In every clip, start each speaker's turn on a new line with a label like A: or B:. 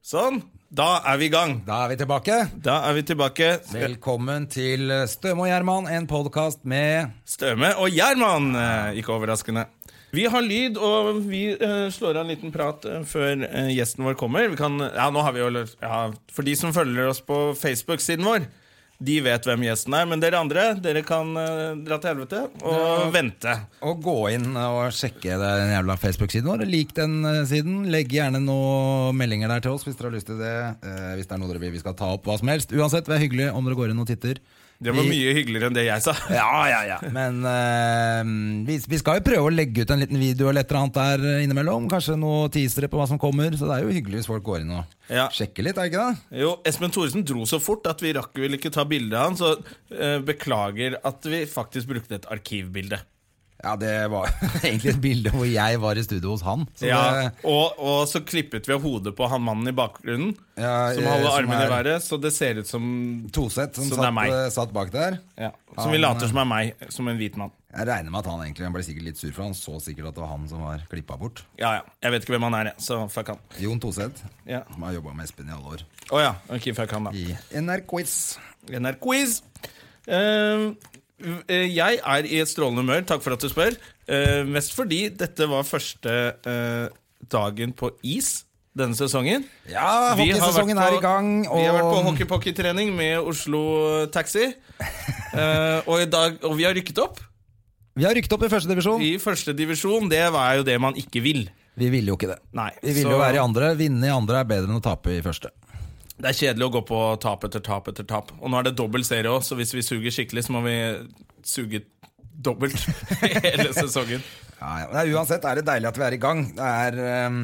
A: Sånn. Da er vi i gang.
B: Da er vi tilbake.
A: Da er vi tilbake.
B: Velkommen til Støme og Gjerman, en podkast med
A: Støme og Gjerman. eh, Ikke overraskende. Vi har lyd, og vi eh, slår av en liten prat eh, før eh, gjesten vår kommer. Vi kan, ja, nå har vi jo, løs- ja, for de som følger oss på Facebook-siden vår, de vet hvem gjesten er. Men dere andre dere kan eh, dra til helvete og vente.
B: å gå inn og sjekke den jævla Facebook-siden vår. Lik den eh, siden. Legg gjerne noen meldinger der til oss hvis dere har lyst til det. Eh, hvis det er noe dere vil vi skal ta opp, hva som helst. Uansett, det er hyggelig om dere går inn og titter.
A: Det var
B: Vi-
A: mye hyggeligere enn det jeg sa.
B: Ja, ja, ja. Men eh, vi, vi skal jo prøve å legge ut en liten video eller et eller annet der eh, innimellom. Kanskje noen teasere på hva som kommer. Så det er jo hyggelig hvis folk går inn og
A: Ja.
B: sjekker litt, er det ikke det?
A: Jo, Espen Thoresen dro så fort at vi rakk vel ikke ta bilde av han, så eh, beklager at vi faktisk brukte et arkivbilde.
B: Ja, det var egentlig et bilde hvor jeg var i studio hos han. Så det,
A: Ja, og, og så klippet vi av hodet på han mannen i bakgrunnen,
B: Ja,
A: som
B: eh,
A: holder
B: som
A: armene
B: er-
A: i været, så det ser ut som
B: Toseth som
A: Så det er
B: satt,
A: meg.
B: eh, satt bak der.
A: ja, Som vi
B: Han,
A: later som er meg, som en hvit mann.
B: Jeg regner med at han egentlig han ble sikkert litt sur, for han så sikkert at det var han som var klippa bort.
A: Ja, ja, Jeg vet ikke hvem han er, jeg, så fuck han.
B: Jon Toseth,
A: Ja.
B: som har jobba med Espen i alle år,
A: Å ja, ok, fuck han, da.
B: i NRK-quiz.
A: NR-quiz. Eh, eh, jeg er i et strålende humør, takk for at du spør. Eh, mest fordi dette var første eh, dagen på is denne sesongen.
B: Ja,
A: Vi har
B: hockeysesongen
A: vært
B: er
A: på-
B: i gang,
A: Vi har vært på
B: og
A: hockeypocky-trening med Oslo Taxi. Eh, og, i dag, og vi har rykket opp
B: vi har rykket opp i førstedivisjon.
A: i første divisjon. Det var jo det man ikke vil.
B: Vi ville jo ikke det.
A: Nei,
B: Vi ville
A: så-
B: jo være i andre. Vinne i andre er bedre enn å tape i første.
A: Det er kjedelig å gå på tap etter tap etter tap. Og nå er det dobbel serie òg, så hvis vi suger skikkelig, så må vi suge dobbelt hele sesongen.
B: Ja, ja. Men uansett er det deilig at vi er i gang. Det er, ehm,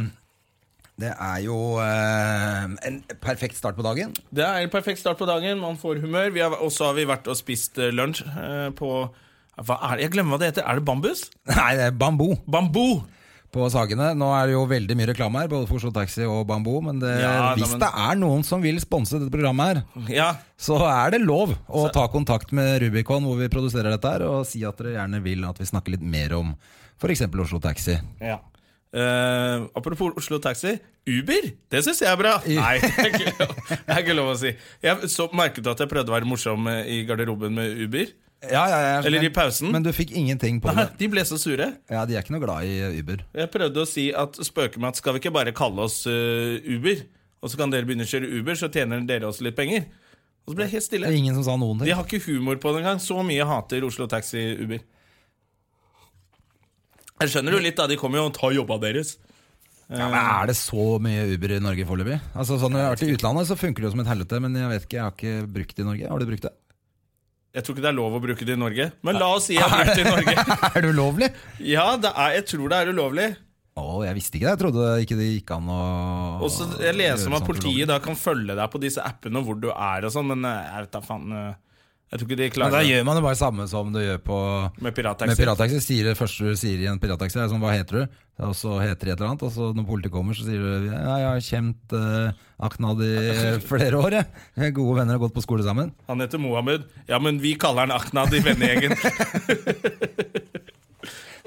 B: det er jo ehm, en perfekt start på dagen.
A: Det er en perfekt start på dagen. Man får humør. Vi har- Og så har vi vært og spist eh, lunsj eh, på hva er det? Jeg glemmer hva det heter. Er det bambus?
B: Nei, det er bambu
A: Bambu!
B: på Sagene. Nå er det jo veldig mye reklame her, både for Oslo Taxi og Bambu. Men det,
A: Ja, da,
B: hvis
A: men-
B: det er noen som vil sponse dette programmet her,
A: Ja,
B: så er det lov å ta kontakt med Rubicon, hvor vi produserer dette her, og si at dere gjerne vil at vi snakker litt mer om f.eks. Oslo Taxi.
A: Ja. Eh, apropos Oslo Taxi. Uber, det syns jeg er bra! Nei, det er ikke lov, det er ikke lov å si. Jeg så, merket du at jeg prøvde å være morsom eh, i garderoben med Uber?
B: Ja, ja, ja,
A: Eller i pausen.
B: Men du fikk ingenting på det.
A: De ble så sure.
B: Ja, De er ikke noe glad i Uber.
A: Jeg prøvde å si at spøke med at skal vi ikke bare kalle oss eh, Uber? Og så kan dere begynne å kjøre Uber, så tjener dere også litt penger. Og så ble jeg helt
B: Det
A: stille.
B: er ingen som sa noen
A: De
B: ting.
A: har ikke humor på det engang. Så mye hater Oslo Taxi Uber. Jeg skjønner jo litt, da. De kommer jo og tar jobba deres.
B: Ja, men Er det så mye Uber i Norge foreløpig? Altså, sånn, når jeg har vært i utlandet, så funker det jo som et helvete, men jeg vet ikke, jeg har ikke brukt det i Norge. Har du brukt det?
A: Jeg tror ikke det er lov å bruke det i Norge, men la oss si jeg har brukt det i Norge.
B: Er det ulovlig?
A: Ja, det er, jeg tror det er ulovlig.
B: Å, jeg visste ikke det. Jeg trodde ikke det gikk an å
A: Og så Jeg leser om
B: gjøre sånn
A: at
B: sånt
A: politiet da kan følge deg på disse appene og hvor du er og sånn, men eh, jeg vet da faen eh, Jeg tror ikke de
B: Men da
A: klarer det
B: gjør man det bare samme som du gjør på
A: med
B: med
A: pirattaxi.
B: pirattaxi. Sier det første du sier i en pirattaxi, er sånn Hva heter du? Og så heter de et eller annet, og så når politiet kommer, så sier du Ja, jeg har kjent uh, Aknad i flere år, jeg. Vi er gode venner og har gått på skole sammen.
A: Han heter Mohammed. Ja, men vi kaller han Aknad i vennegjengen.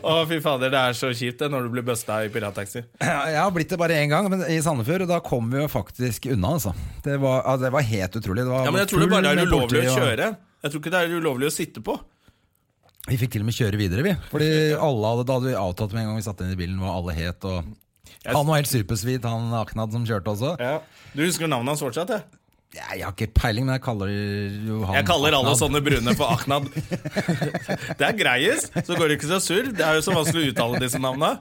A: Å, fy fader, det er så kjipt det når du blir busta i pirattaxi.
B: Ja, Jeg har blitt det bare én gang, men i Sandefjord, og da kom vi jo faktisk unna, altså. Det var, ja, det var helt utrolig. Det var
A: Ja, Men jeg tror det
B: full
A: bare er
B: med
A: ulovlig
B: politi,
A: å
B: og-
A: kjøre. Jeg tror ikke det er ulovlig å sitte på.
B: Vi fikk til og med kjøre videre, vi. Fordi alle hadde, da hadde vi avtalt med en gang vi satt inn i bilen hva alle het. og...
A: Jeg-
B: Han var helt supersvit, han Aknad som kjørte også.
A: Du husker navnet hans fortsatt? Jeg,
B: Ja, Jeg har ikke peiling, men jeg kaller jo han
A: jeg kaller alle
B: Aknad.
A: sånne brune for Aknad. Det er greiest, så går det ikke så surr. Det er jo så vanskelig å uttale disse navna.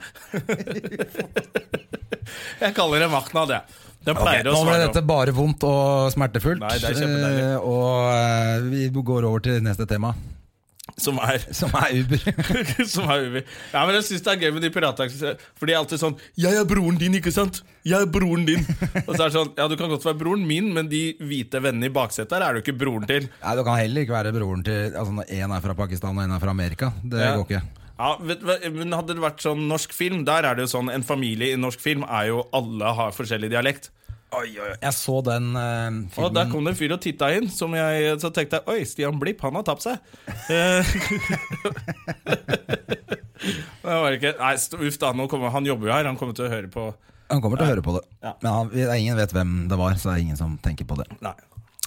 A: Jeg kaller dem Aknad, jeg. Den
B: Ok,
A: pleier å
B: Nå ble
A: svare
B: dette
A: om.
B: bare vondt og smertefullt.
A: Nei, det er kjempedeilig.
B: Eh, Og eh, vi går over til neste tema,
A: Som er
B: som er Uber.
A: som er Uber. Ja, men jeg syns det er gøy med de pirattaxiene. For de er alltid sånn 'Jeg er broren din, ikke sant?' 'Jeg er broren din'. Og så er det sånn Ja, du kan godt være broren min, men de hvite vennene i baksetet her er du ikke broren til.
B: Nei, Du kan heller ikke være broren til Altså, når én er fra Pakistan og én er fra Amerika. Det
A: Ja.
B: går ikke.
A: Ja, vet, du hva, men Hadde det vært sånn norsk film Der er det jo sånn En familie i norsk film er jo alle har forskjellig dialekt.
B: Jeg så den eh,
A: Og der
B: filmen
A: kom det en fyr og titta inn, som jeg så tenkte jeg, Oi, Stian Blipp, han har tapt seg. Eh, det var ikke Nei, st- uff da, nå kommer, han jobber jo her. Han kommer til å høre på
B: Han kommer til å høre på det.
A: Ja.
B: Men han, ingen vet hvem det var, så det er ingen som tenker på det.
A: Nei.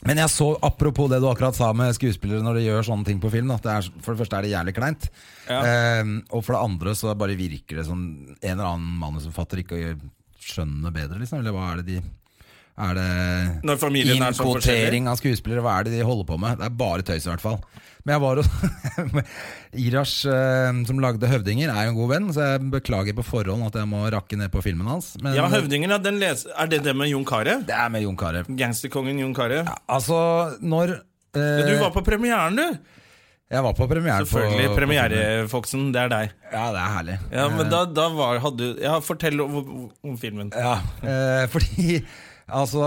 B: Men jeg så, apropos det du akkurat sa med skuespillere når de gjør sånne ting på film da, det er, For det første er det jævlig kleint.
A: Ja.
B: Eh, og for det andre så bare virker det som en eller annen manusforfatter ikke skjønner bedre, liksom. Eller hva er det de Er det
A: Når familien er så forskjellig.
B: Innkvotering av skuespillere, hva er det de holder på med? Det er bare tøys, i hvert fall. Men jeg var hos Irash, eh, som lagde 'Høvdinger', er jo en god venn, så jeg beklager på forhånd at jeg må rakke ned på filmen hans. Men
A: Ja, Høvdingen, ja, den les er det det med Jon Carew?
B: det er med Jon Carew.
A: Gangsterkongen Jon Carew.
B: Altså, når eh,
A: Du var på premieren, du!
B: Jeg var på premieren på-
A: Selvfølgelig.
B: på filmen.
A: Premierefoksen, det er deg.
B: Ja, det er herlig.
A: Ja, men da, da var hadde, Ja, fortell om, om filmen.
B: Ja, eh, fordi Altså,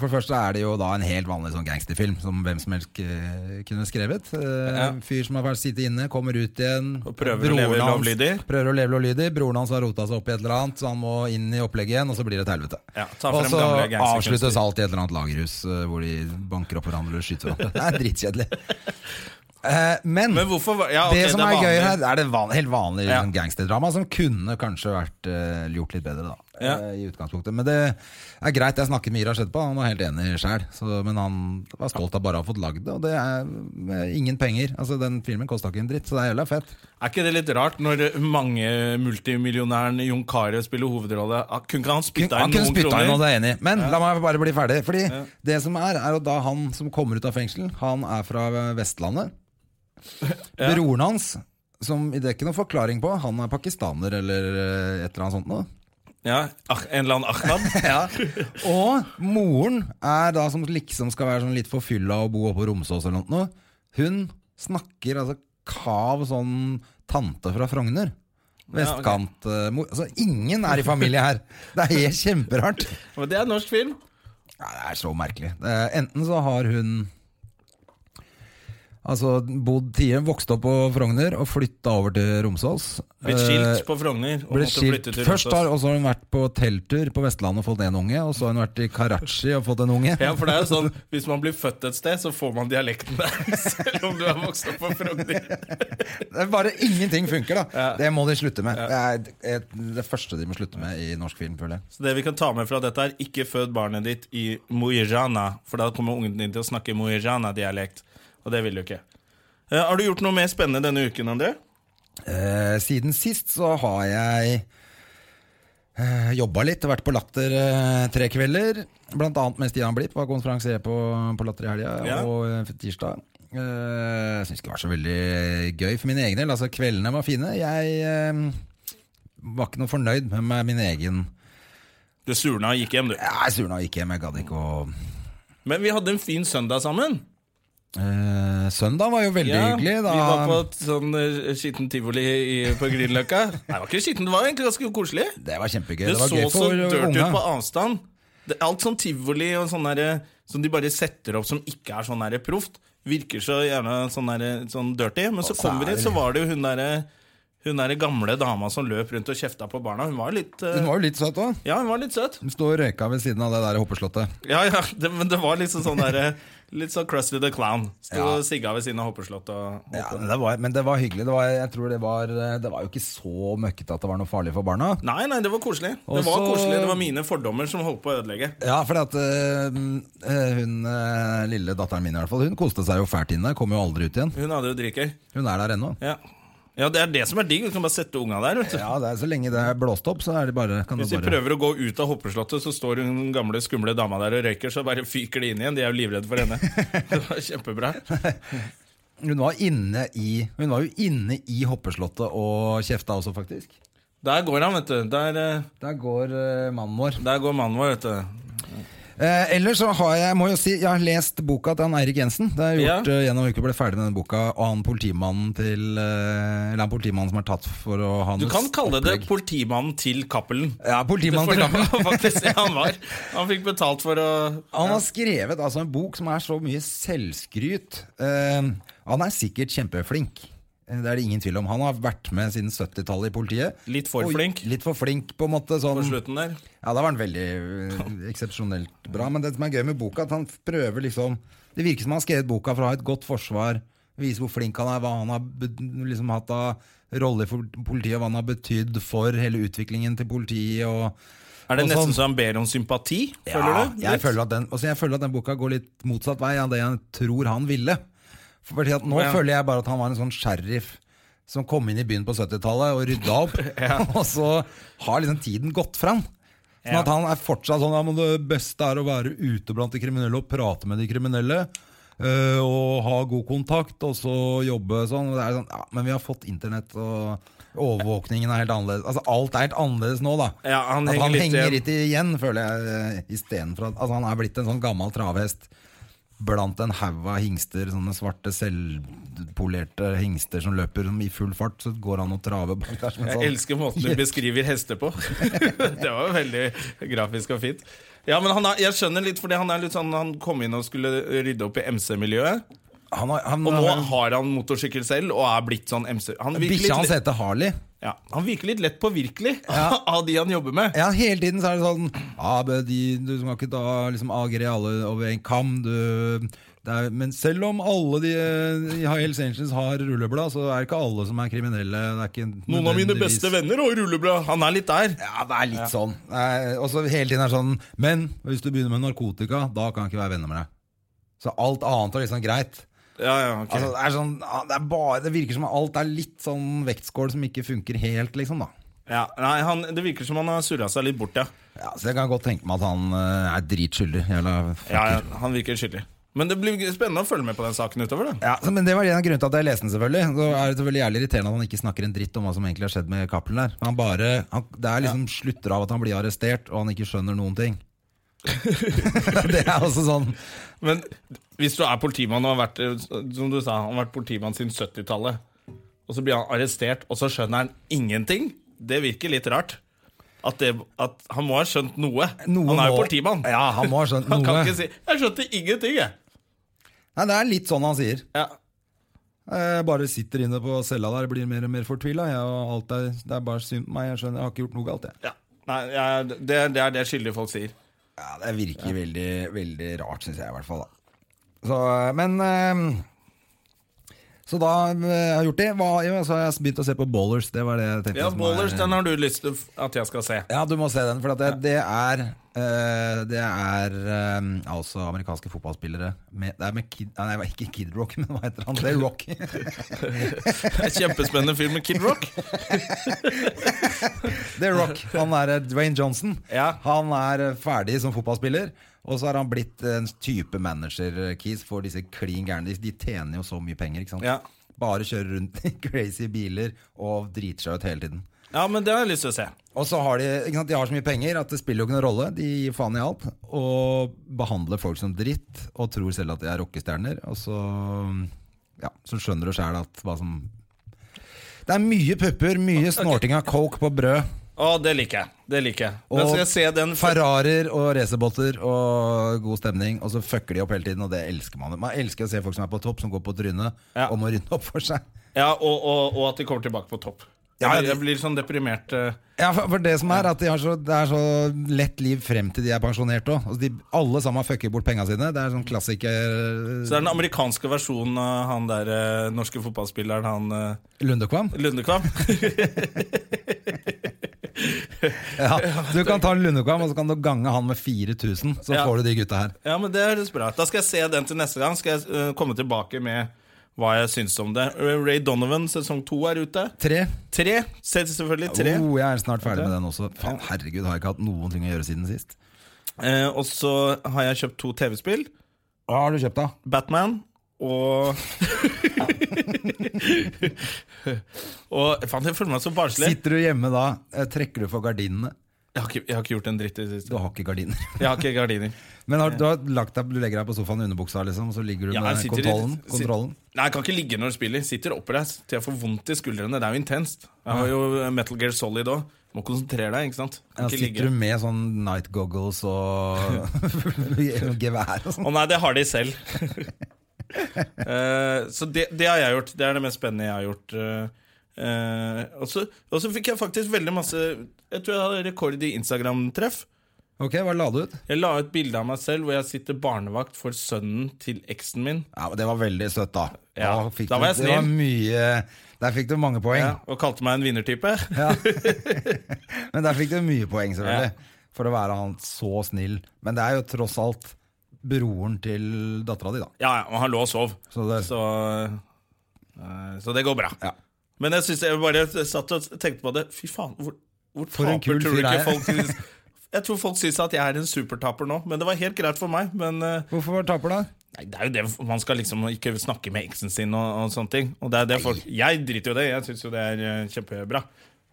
B: For det første er det jo da en helt vanlig sånn gangsterfilm som hvem som helst eh, kunne skrevet. Eh,
A: Ja.
B: Fyr som har vært sittet inne, kommer ut igjen.
A: Og prøver å leve lovlydig.
B: Prøver å leve lovlydig Broren hans har rota seg opp i et eller annet, så han må inn i opplegget igjen, og så blir det et helvete.
A: Ja, ta
B: og
A: frem
B: så
A: gamle gangsterkunster.
B: avsluttes alt i et eller annet lagerhus eh, hvor de banker opp hverandre og skyter hverandre. Det er dritkjedelig. Eh, men,
A: Men hvorfor var- ja, ok,
B: det som
A: det
B: er,
A: er
B: gøy
A: vanlig.
B: her, er det van, helt vanlig
A: Ja.
B: liksom, gangsterdrama som kunne kanskje vært eh, gjort litt bedre, da.
A: Ja.
B: Eh, I utgangspunktet. Men det er greit. Jeg snakket med Irash etterpå, han var helt enig sjæl. Men han var stolt av bare å ha fått lagd det, og det er eh, ingen penger. Altså, den filmen kosta ikke en dritt, så det er jævla fett.
A: Er ikke det litt rart når mange multimillionæren Jon Carew spiller hovedrolle? Ah, Kunne ikke han spytta
B: Han
A: inn
B: kunne
A: noen
B: spytta inn, og
A: kroner?
B: det er jeg enig i. Men la meg bare bli ferdig. Fordi det som er, er jo da han som kommer ut av fengsel, han er fra eh, Vestlandet. Broren hans, som det er ikke noen forklaring på, han er pakistaner eller eh, et eller annet sånt noe.
A: Ja, ah, En eller annen Ahmad?
B: Og moren er da som liksom skal være sånn litt forfylla og bo oppe på Romsås eller noe. Hun snakker altså kav sånn tante fra Frogner. Vestkantmor. Altså ingen er i familie her! Det er helt kjemperart.
A: Men det er norsk film.
B: Ja, det er så merkelig. Eh, enten så har hun Altså bodd tidligere, vokst opp på Frogner og flytta over til Romsås. Eh,
A: Blitt skilt på Frogner. Og
B: Ble
A: måtte
B: skilt
A: flytte til
B: først
A: Rosas.
B: har, og så har hun vært på telttur på Vestlandet og fått en unge. Og så har hun vært i Karachi og fått en unge.
A: Ja, for det er jo sånn, Hvis man blir født et sted, så får man dialekten der. Selv om du har vokst opp på Frogner.
B: Det er bare ingenting funker, da. Det må de slutte med. Det er et- det første de må slutte med i norsk film, føler jeg.
A: Så det vi kan ta med fra dette, er ikke fød barnet ditt i Mujana, for da kommer ungen din til å snakke Mujana-dialekt. Og det vil du ikke. Eh, har du gjort noe mer spennende denne uken, André?
B: Eh, siden sist så har jeg eh, jobba litt, vært på Latter eh, tre kvelder. Blant annet med Stian Blipp, var konferansier på, på Latter i helga
A: Ja.
B: og eh, tirsdag. Eh, Jeg syns ikke det var så veldig gøy for min egen del. Altså, kveldene var fine. Jeg eh, var ikke noe fornøyd med meg- min egen
A: Du surna og gikk hjem, du.
B: Jeg surna og gikk hjem, jeg gadd ikke å
A: Men vi hadde en fin søndag sammen.
B: Eh, Søndag var jo veldig hyggelig. Da.
A: Vi var på et sånn eh, skittent tivoli i, på Grünerløkka. Nei, det var ikke skittent, det var egentlig ganske koselig.
B: Det var kjempegøy.
A: Det,
B: Det, var
A: så
B: gøy
A: så
B: for
A: dirty
B: unga.
A: ut på avstand. Det, alt sånn tivoli og sånn derre som de bare setter opp som ikke er sånn derre proft, virker så gjerne sånn, derre- sånn dirty. Men så
B: så
A: kom vi
B: er
A: dit,
B: det-
A: så var det jo hun derre hun der gamle dama som løp rundt og kjefta på barna. Hun var litt eh,
B: Hun var jo litt søt òg.
A: Ja, hun var litt søt.
B: Hun står og røyka ved siden av det der hoppeslottet.
A: Ja, ja, det, Men det var liksom sånn derre Litt sånn Crusty the Clown. Sto
B: Ja.
A: og sigga ved siden av Hoppeslott og
B: Ja, men det var, men det var hyggelig. Det var, jeg tror det var, eh, det var jo ikke så møkkete at det var noe farlig for barna.
A: Nei, nei, det var koselig.
B: Og
A: det var
B: så-
A: koselig, det var mine fordommer som holdt på å ødelegge.
B: Ja, for at øh, øh, hun øh, lille datteren min i hvert fall, hun koste seg jo fælt inne. Kom jo aldri ut igjen.
A: Hun hadde jo dritgøy.
B: Hun er der ennå.
A: Ja. ja, det er det som er digg. Du kan bare sette unga der. Vet du.
B: Ja, det er, så lenge det er blåst opp, så er det bare, kan det
A: Hvis de
B: bare
A: prøver å gå ut av Hoppeslottet, så står hun gamle, skumle dama der og røyker, så bare fyker de inn igjen. De er jo livredde for henne. Det var kjempebra.
B: Hun var, inne i, hun var jo inne i hoppeslottet og kjefta også, faktisk.
A: Der går han, vet du. Der, eh,
B: Der går øh, mannen vår.
A: der går mannen vår, vet du.
B: Eh, ellers så har jeg, må jo si, jeg har lest boka til han Eirik Jensen. Det har jeg gjort
A: Ja.
B: eh, gjennom uke, ble ferdig med denne boka. Og han politimannen til eh, Eller han politimannen som er tatt for å ha
A: Du
B: noe
A: kan kalle det
B: opplegg.
A: politimannen til Cappelen.
B: Ja, politimannen
A: For
B: til
A: det
B: Kampen.
A: var faktisk det han var. Han fikk betalt for å
B: Han har skrevet altså en bok som er så mye selvskryt. Eh, han er sikkert kjempeflink. Eh, Det er det ingen tvil om. Han har vært med siden 70-tallet i politiet.
A: Litt for
B: Og
A: flink.
B: Litt for flink, på en måte. Sånn,
A: På slutten der.
B: Ja, da var han veldig eh, eksepsjonelt bra. Men det som er gøy med boka, at han prøver liksom Det virker som han har skrevet boka for å ha et godt forsvar. Vise hvor flink han er, hva han har be- liksom hatt av rolle for politiet, og hva han har betydd for hele utviklingen til politiet. Og
A: Er det
B: Og
A: nesten
B: sånn-
A: så han ber om sympati? Føler
B: ja,
A: du?
B: Jeg føler, at den, altså jeg føler at den boka går litt motsatt vei av det jeg tror han ville. For fordi at nå
A: Ja.
B: føler jeg bare at han var en sånn sheriff som kom inn i byen på 70-tallet og rydda opp. Og så har liksom tiden gått fra han. Sånn
A: Ja.
B: at han er fortsatt sånn ja, men Det beste er å være ute blant de kriminelle og prate med de kriminelle. øh, og ha god kontakt, og så jobbe sånn. Og det er sånn ja, men vi har fått internett, og overvåkningen er helt annerledes. Altså, alt er helt annerledes nå, da.
A: Ja, han
B: At
A: henger
B: han
A: litt
B: henger
A: igjen.
B: litt igjen, føler jeg. eh, Istedenfor at altså, han er blitt en sånn gammel travhest blant en haug av hingster. Sånne svarte, selvpolerte hengster som løper som i full fart. Så går han og traver bak der. som en
A: Jeg
B: sånn-
A: elsker måten du beskriver hester på. det var jo veldig grafisk og fint. Ja, men han er, jeg skjønner litt, fordi han er litt sånn Han kom inn og skulle rydde opp i MC-miljøet.
B: Han har- han-
A: Og nå
B: han-
A: har han motorsykkel selv og er blitt sånn MC. Han virker
B: Bikkja hans
A: litt,
B: heter Harley.
A: ja, han virker litt lett påvirkelig av de han jobber med.
B: Ja, hele tiden så er det sånn ja, men de, Du skal ikke da liksom agre alle over en kam. Du, det er, men selv om alle de eh, i Hells Angels har rulleblad, så er det ikke alle som er kriminelle. Det er ikke
A: Noen av mine
B: nødvendigvis-
A: beste venner og rulleblad. Han er litt der.
B: Ja, det er litt sånn. Eh, Og så hele tiden er det sånn Men hvis du begynner med narkotika, da kan jeg ikke være venner med deg. Så alt annet er liksom greit.
A: Ja, ja, ok
B: Altså, det, er sånn, ah, det, er bare, det virker som alt er litt sånn vektskål som ikke funker helt, liksom, da.
A: ja, nei, han, Det virker som han har surra seg litt bort, ja.
B: Ja, så jeg kan godt tenke meg at han eh, er dritskyldig. Jævla fucker.
A: ja, ja han virker skyldig. Men det blir spennende å følge med på den saken utover, da.
B: Ja, så, men Det var en av grunnene til at jeg leste den. selvfølgelig Så er det selvfølgelig jævlig irriterende at han ikke snakker en dritt om hva som egentlig har skjedd med Cappelen der. Han bare, han, det er liksom slutter av at han blir arrestert, og han ikke skjønner noen ting. det er også sånn
A: Men hvis du er politimann og har vært eh, Som du sa, han har vært politimann siden 70-tallet, og så blir han arrestert, og så skjønner han ingenting, det virker litt rart. At, det, at han må ha skjønt noe.
B: Noe
A: han er jo
B: må-
A: politimann.
B: Ja, han må ha skjønt
A: Han kan
B: noe.
A: ikke si 'Jeg skjønte ingenting', jeg.
B: Nei, Det er litt sånn han sier.
A: Ja.
B: Jeg bare sitter inne på cella der blir mer og mer fortvila. jeg, og alt er- Det er bare synd på meg. Jeg skjønner, jeg har ikke gjort noe galt. Jeg.
A: Ja. Nei, jeg- det, det er det skyldige folk sier.
B: Ja, Det virker veldig, veldig rart, syns jeg i hvert fall. da. Så, eh, men eh, Så da eh, jeg har jeg gjort det. Hva, jo, så har jeg begynt å se på Ballers. Det var det jeg tenkte.
A: Ja,
B: som
A: Ballers,
B: er-
A: den har du lyst til f- at jeg skal se.
B: Ja, du må se den, for at det, det er eh, Det er eh, altså amerikanske fotballspillere med, Det er med Kid Nei, det var ikke Kid Rock, men hva heter han? Det er Rock.
A: En kjempespennende film med Kid Rock.
B: The Rock. Han er eh, Dwayne Johnson.
A: Ja.
B: Han er eh, ferdig som fotballspiller, og så har han blitt eh, en type manager-keys for disse klin gærne. De- De tjener jo så mye penger, ikke sant.
A: Ja.
B: Bare kjører rundt i crazy biler og driter seg ut hele tiden.
A: Ja, men det har jeg lyst til å se.
B: Og så har de, ikke sant, de har så mye penger at det spiller jo ikke noen rolle. De gir faen i alt. Og behandler folk som dritt og tror selv at de er rockestjerner. Og så, ja, så skjønner du sjæl at hva som Det er mye pupper, mye snorting av coke på brød.
A: Å, det liker jeg. Det liker jeg.
B: Og
A: Da skal jeg se den før.
B: Ferrarier og racerbåter og god stemning, og så fucker de opp hele tiden, og det elsker man. Man elsker å se folk som er på topp, som går på trynet
A: Ja.
B: og må rydde opp for seg.
A: Ja, og, og, og at de kommer tilbake på topp.
B: Ja,
A: Jeg,
B: det-
A: jeg blir sånn deprimert. eh.
B: Ja, for, for det som er at de har så, Det er så lett liv frem til de er pensjonert òg. Altså de- alle sammen fucker bort penga sine. Det er sånn klassiker
A: Så det er den amerikanske versjonen av han der eh, norske fotballspilleren, han eh,
B: Lundekvam.
A: Lundekvam.
B: Ja, du kan ta Lundekvam, og så kan du gange han med 4000. Så
A: Ja.
B: får du de gutta her.
A: Ja, men det høres bra ut. Da skal jeg se den til neste gang. Skal jeg eh, komme tilbake med hva jeg syns om det. Eh, Ray Donovan sesong to er ute.
B: Tre.
A: Tre. Se selvfølgelig tre.
B: Oh, jeg er snart ferdig med den også. Faen, herregud, har jeg ikke hatt noen ting å gjøre siden sist.
A: Eh, og så har jeg kjøpt to TV-spill.
B: Hva har du kjøpt, da?
A: Batman og Og faen, jeg føler meg så barnslig.
B: Sitter du hjemme da? eh, Trekker du for gardinene?
A: Jeg har, ikke, jeg har ikke gjort en dritt i det
B: Du
A: siste.
B: har ikke gardiner.
A: Jeg har ikke gardiner.
B: Men har, du, har lagt deg, du legger deg på sofaen i underbuksa, liksom, og så ligger du
A: Ja,
B: med
A: jeg sitter i-
B: kontrollen?
A: sit-
B: kontrollen.
A: Nei, Jeg kan ikke ligge når du spiller. Sitter oppreist til jeg får vondt i skuldrene. Det er jo intenst. Jeg har jo Metal Gear Solid òg. Må konsentrere deg, ikke sant.
B: Ja,
A: Kan ikke ligge.
B: sitter du med sånn night goggles og gevær og
A: Å
B: sånn?
A: nei, det har de selv. Eh, så det, det har jeg gjort. Det er det mest spennende jeg har gjort. eh, eh, og så og så fikk jeg faktisk veldig masse Jeg tror jeg hadde rekord i Instagram-treff.
B: Ok, hva la du ut?
A: Jeg la ut bilde av meg selv hvor jeg sitter barnevakt for sønnen til eksen min.
B: Ja, men Det var veldig søtt, da.
A: Ja,
B: fikk
A: da var jeg
B: du, det var mye, der fikk du mange poeng.
A: Ja, og kalte meg en vinnertype.
B: Ja. men der fikk du mye poeng, selvfølgelig. for å være han så snill. Men det er jo tross alt broren til dattera di, da.
A: Ja, ja, og han lå og sov,
B: Så det,
A: så, eh, så det går bra.
B: Ja.
A: Men jeg synes jeg bare satt og tenkte på det. Fy faen, hvor, hvor
B: For en
A: taper
B: kul
A: tror du
B: fyr
A: ikke
B: jeg er.
A: folk synes Jeg tror folk syns at jeg er en supertaper nå, men det var helt greit for meg. Men eh,
B: hvorfor var det taper, da?
A: nei, det er jo det man skal liksom ikke snakke med eksen sin og, og sånne ting. Og det er det folk Jeg driter jo i det. Jeg syns jo det er eh, kjempebra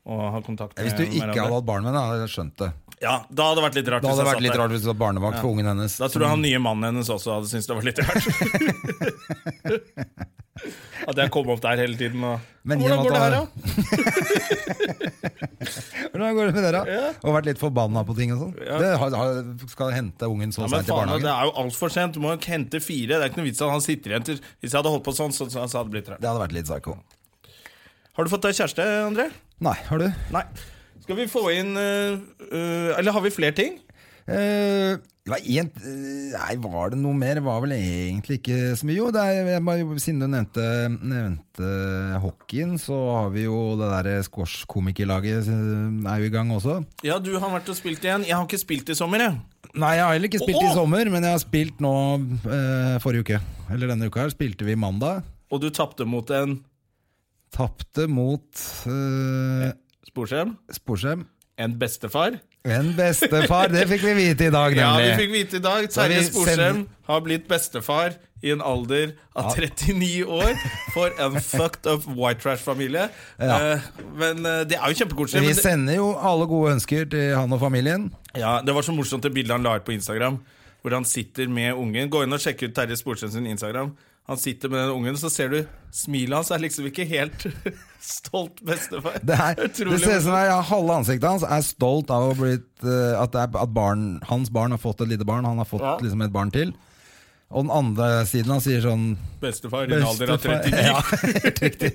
A: å ha kontakt med
B: Hvis du ikke
A: hverandre.
B: hadde hatt barn med henne, hadde jeg skjønt det.
A: Ja, da hadde det vært litt rart.
B: Da
A: hvis
B: hadde det
A: jeg
B: vært
A: satt
B: litt
A: der.
B: rart Mm. hvis det var barnevakt for ungen hennes.
A: Da tror jeg han nye mannen hennes også hadde syntes det var litt rart. At jeg kom opp der hele tiden og
B: Men
A: Hvordan
B: i og
A: går
B: med
A: det
B: at
A: her, da?
B: han- Hvordan går det med dere? Og vært litt forbanna på ting og sånn.
A: Ja.
B: Det har- har- Skal hente ungen så
A: Ja, men faen,
B: seint i
A: Altså, Det
B: barnehagen.
A: er jo altfor sent. Du må jo ikke hente fire. Det er ikke noe vits at han sitter igjen til Hvis jeg hadde holdt på sånn, så, så hadde det blitt rart.
B: Det hadde vært litt psycho.
A: Har du fått deg kjæreste, André?
B: Nei, har du?
A: Nei. Skal vi få inn øh, øh, Eller har vi flere ting?
B: Eh, det var en, eh, nei, var det noe mer? Det var vel egentlig ikke så mye. Jo, det er, jeg bare- siden du nevnte, nevnte hockeyen, så har vi jo det derre squash-komikerlaget eh, er jo i gang også.
A: Ja, du har vært og spilt igjen. Jeg har ikke spilt i sommer, jeg.
B: Nei, jeg har heller ikke spilt
A: Åh!
B: i sommer, men jeg har spilt nå eh, forrige uke. Eller denne uka her spilte vi mandag.
A: Og du tapte mot en
B: Tapte mot eh,
A: sporskjerm.
B: Sporsem.
A: En bestefar.
B: En bestefar, det fikk vi vite i dag,
A: Ja, vi
B: nemlig.
A: fikk vite i dag.
B: har vi
A: Terje Sporsem
B: send-
A: har blitt bestefar i en alder av 39 år for en fucked up white trash-familie.
B: Ja.
A: Eh, men eh, det er jo kjempekoselig.
B: vi
A: men det-
B: sender jo alle gode ønsker til han og familien.
A: Ja, det var så morsomt det bildet han la ut på Instagram, hvor han sitter med ungen. Gå inn og sjekk ut Terje Sporsem sin Instagram. Han sitter med den ungen, så ser du smilet hans er liksom ikke helt stolt bestefar.
B: Det, er, det
A: Utrolig
B: ser ut som det er- ja, halve ansiktet hans er stolt av å ha blitt, eh, at, det er, at barn, hans barn har fått et lite barn. Han har fått
A: Ja.
B: liksom et barn til. Og den andre siden han sier sånn
A: bestefar i en alder av
B: «Bestefar».
A: 39.
B: Ja, helt riktig.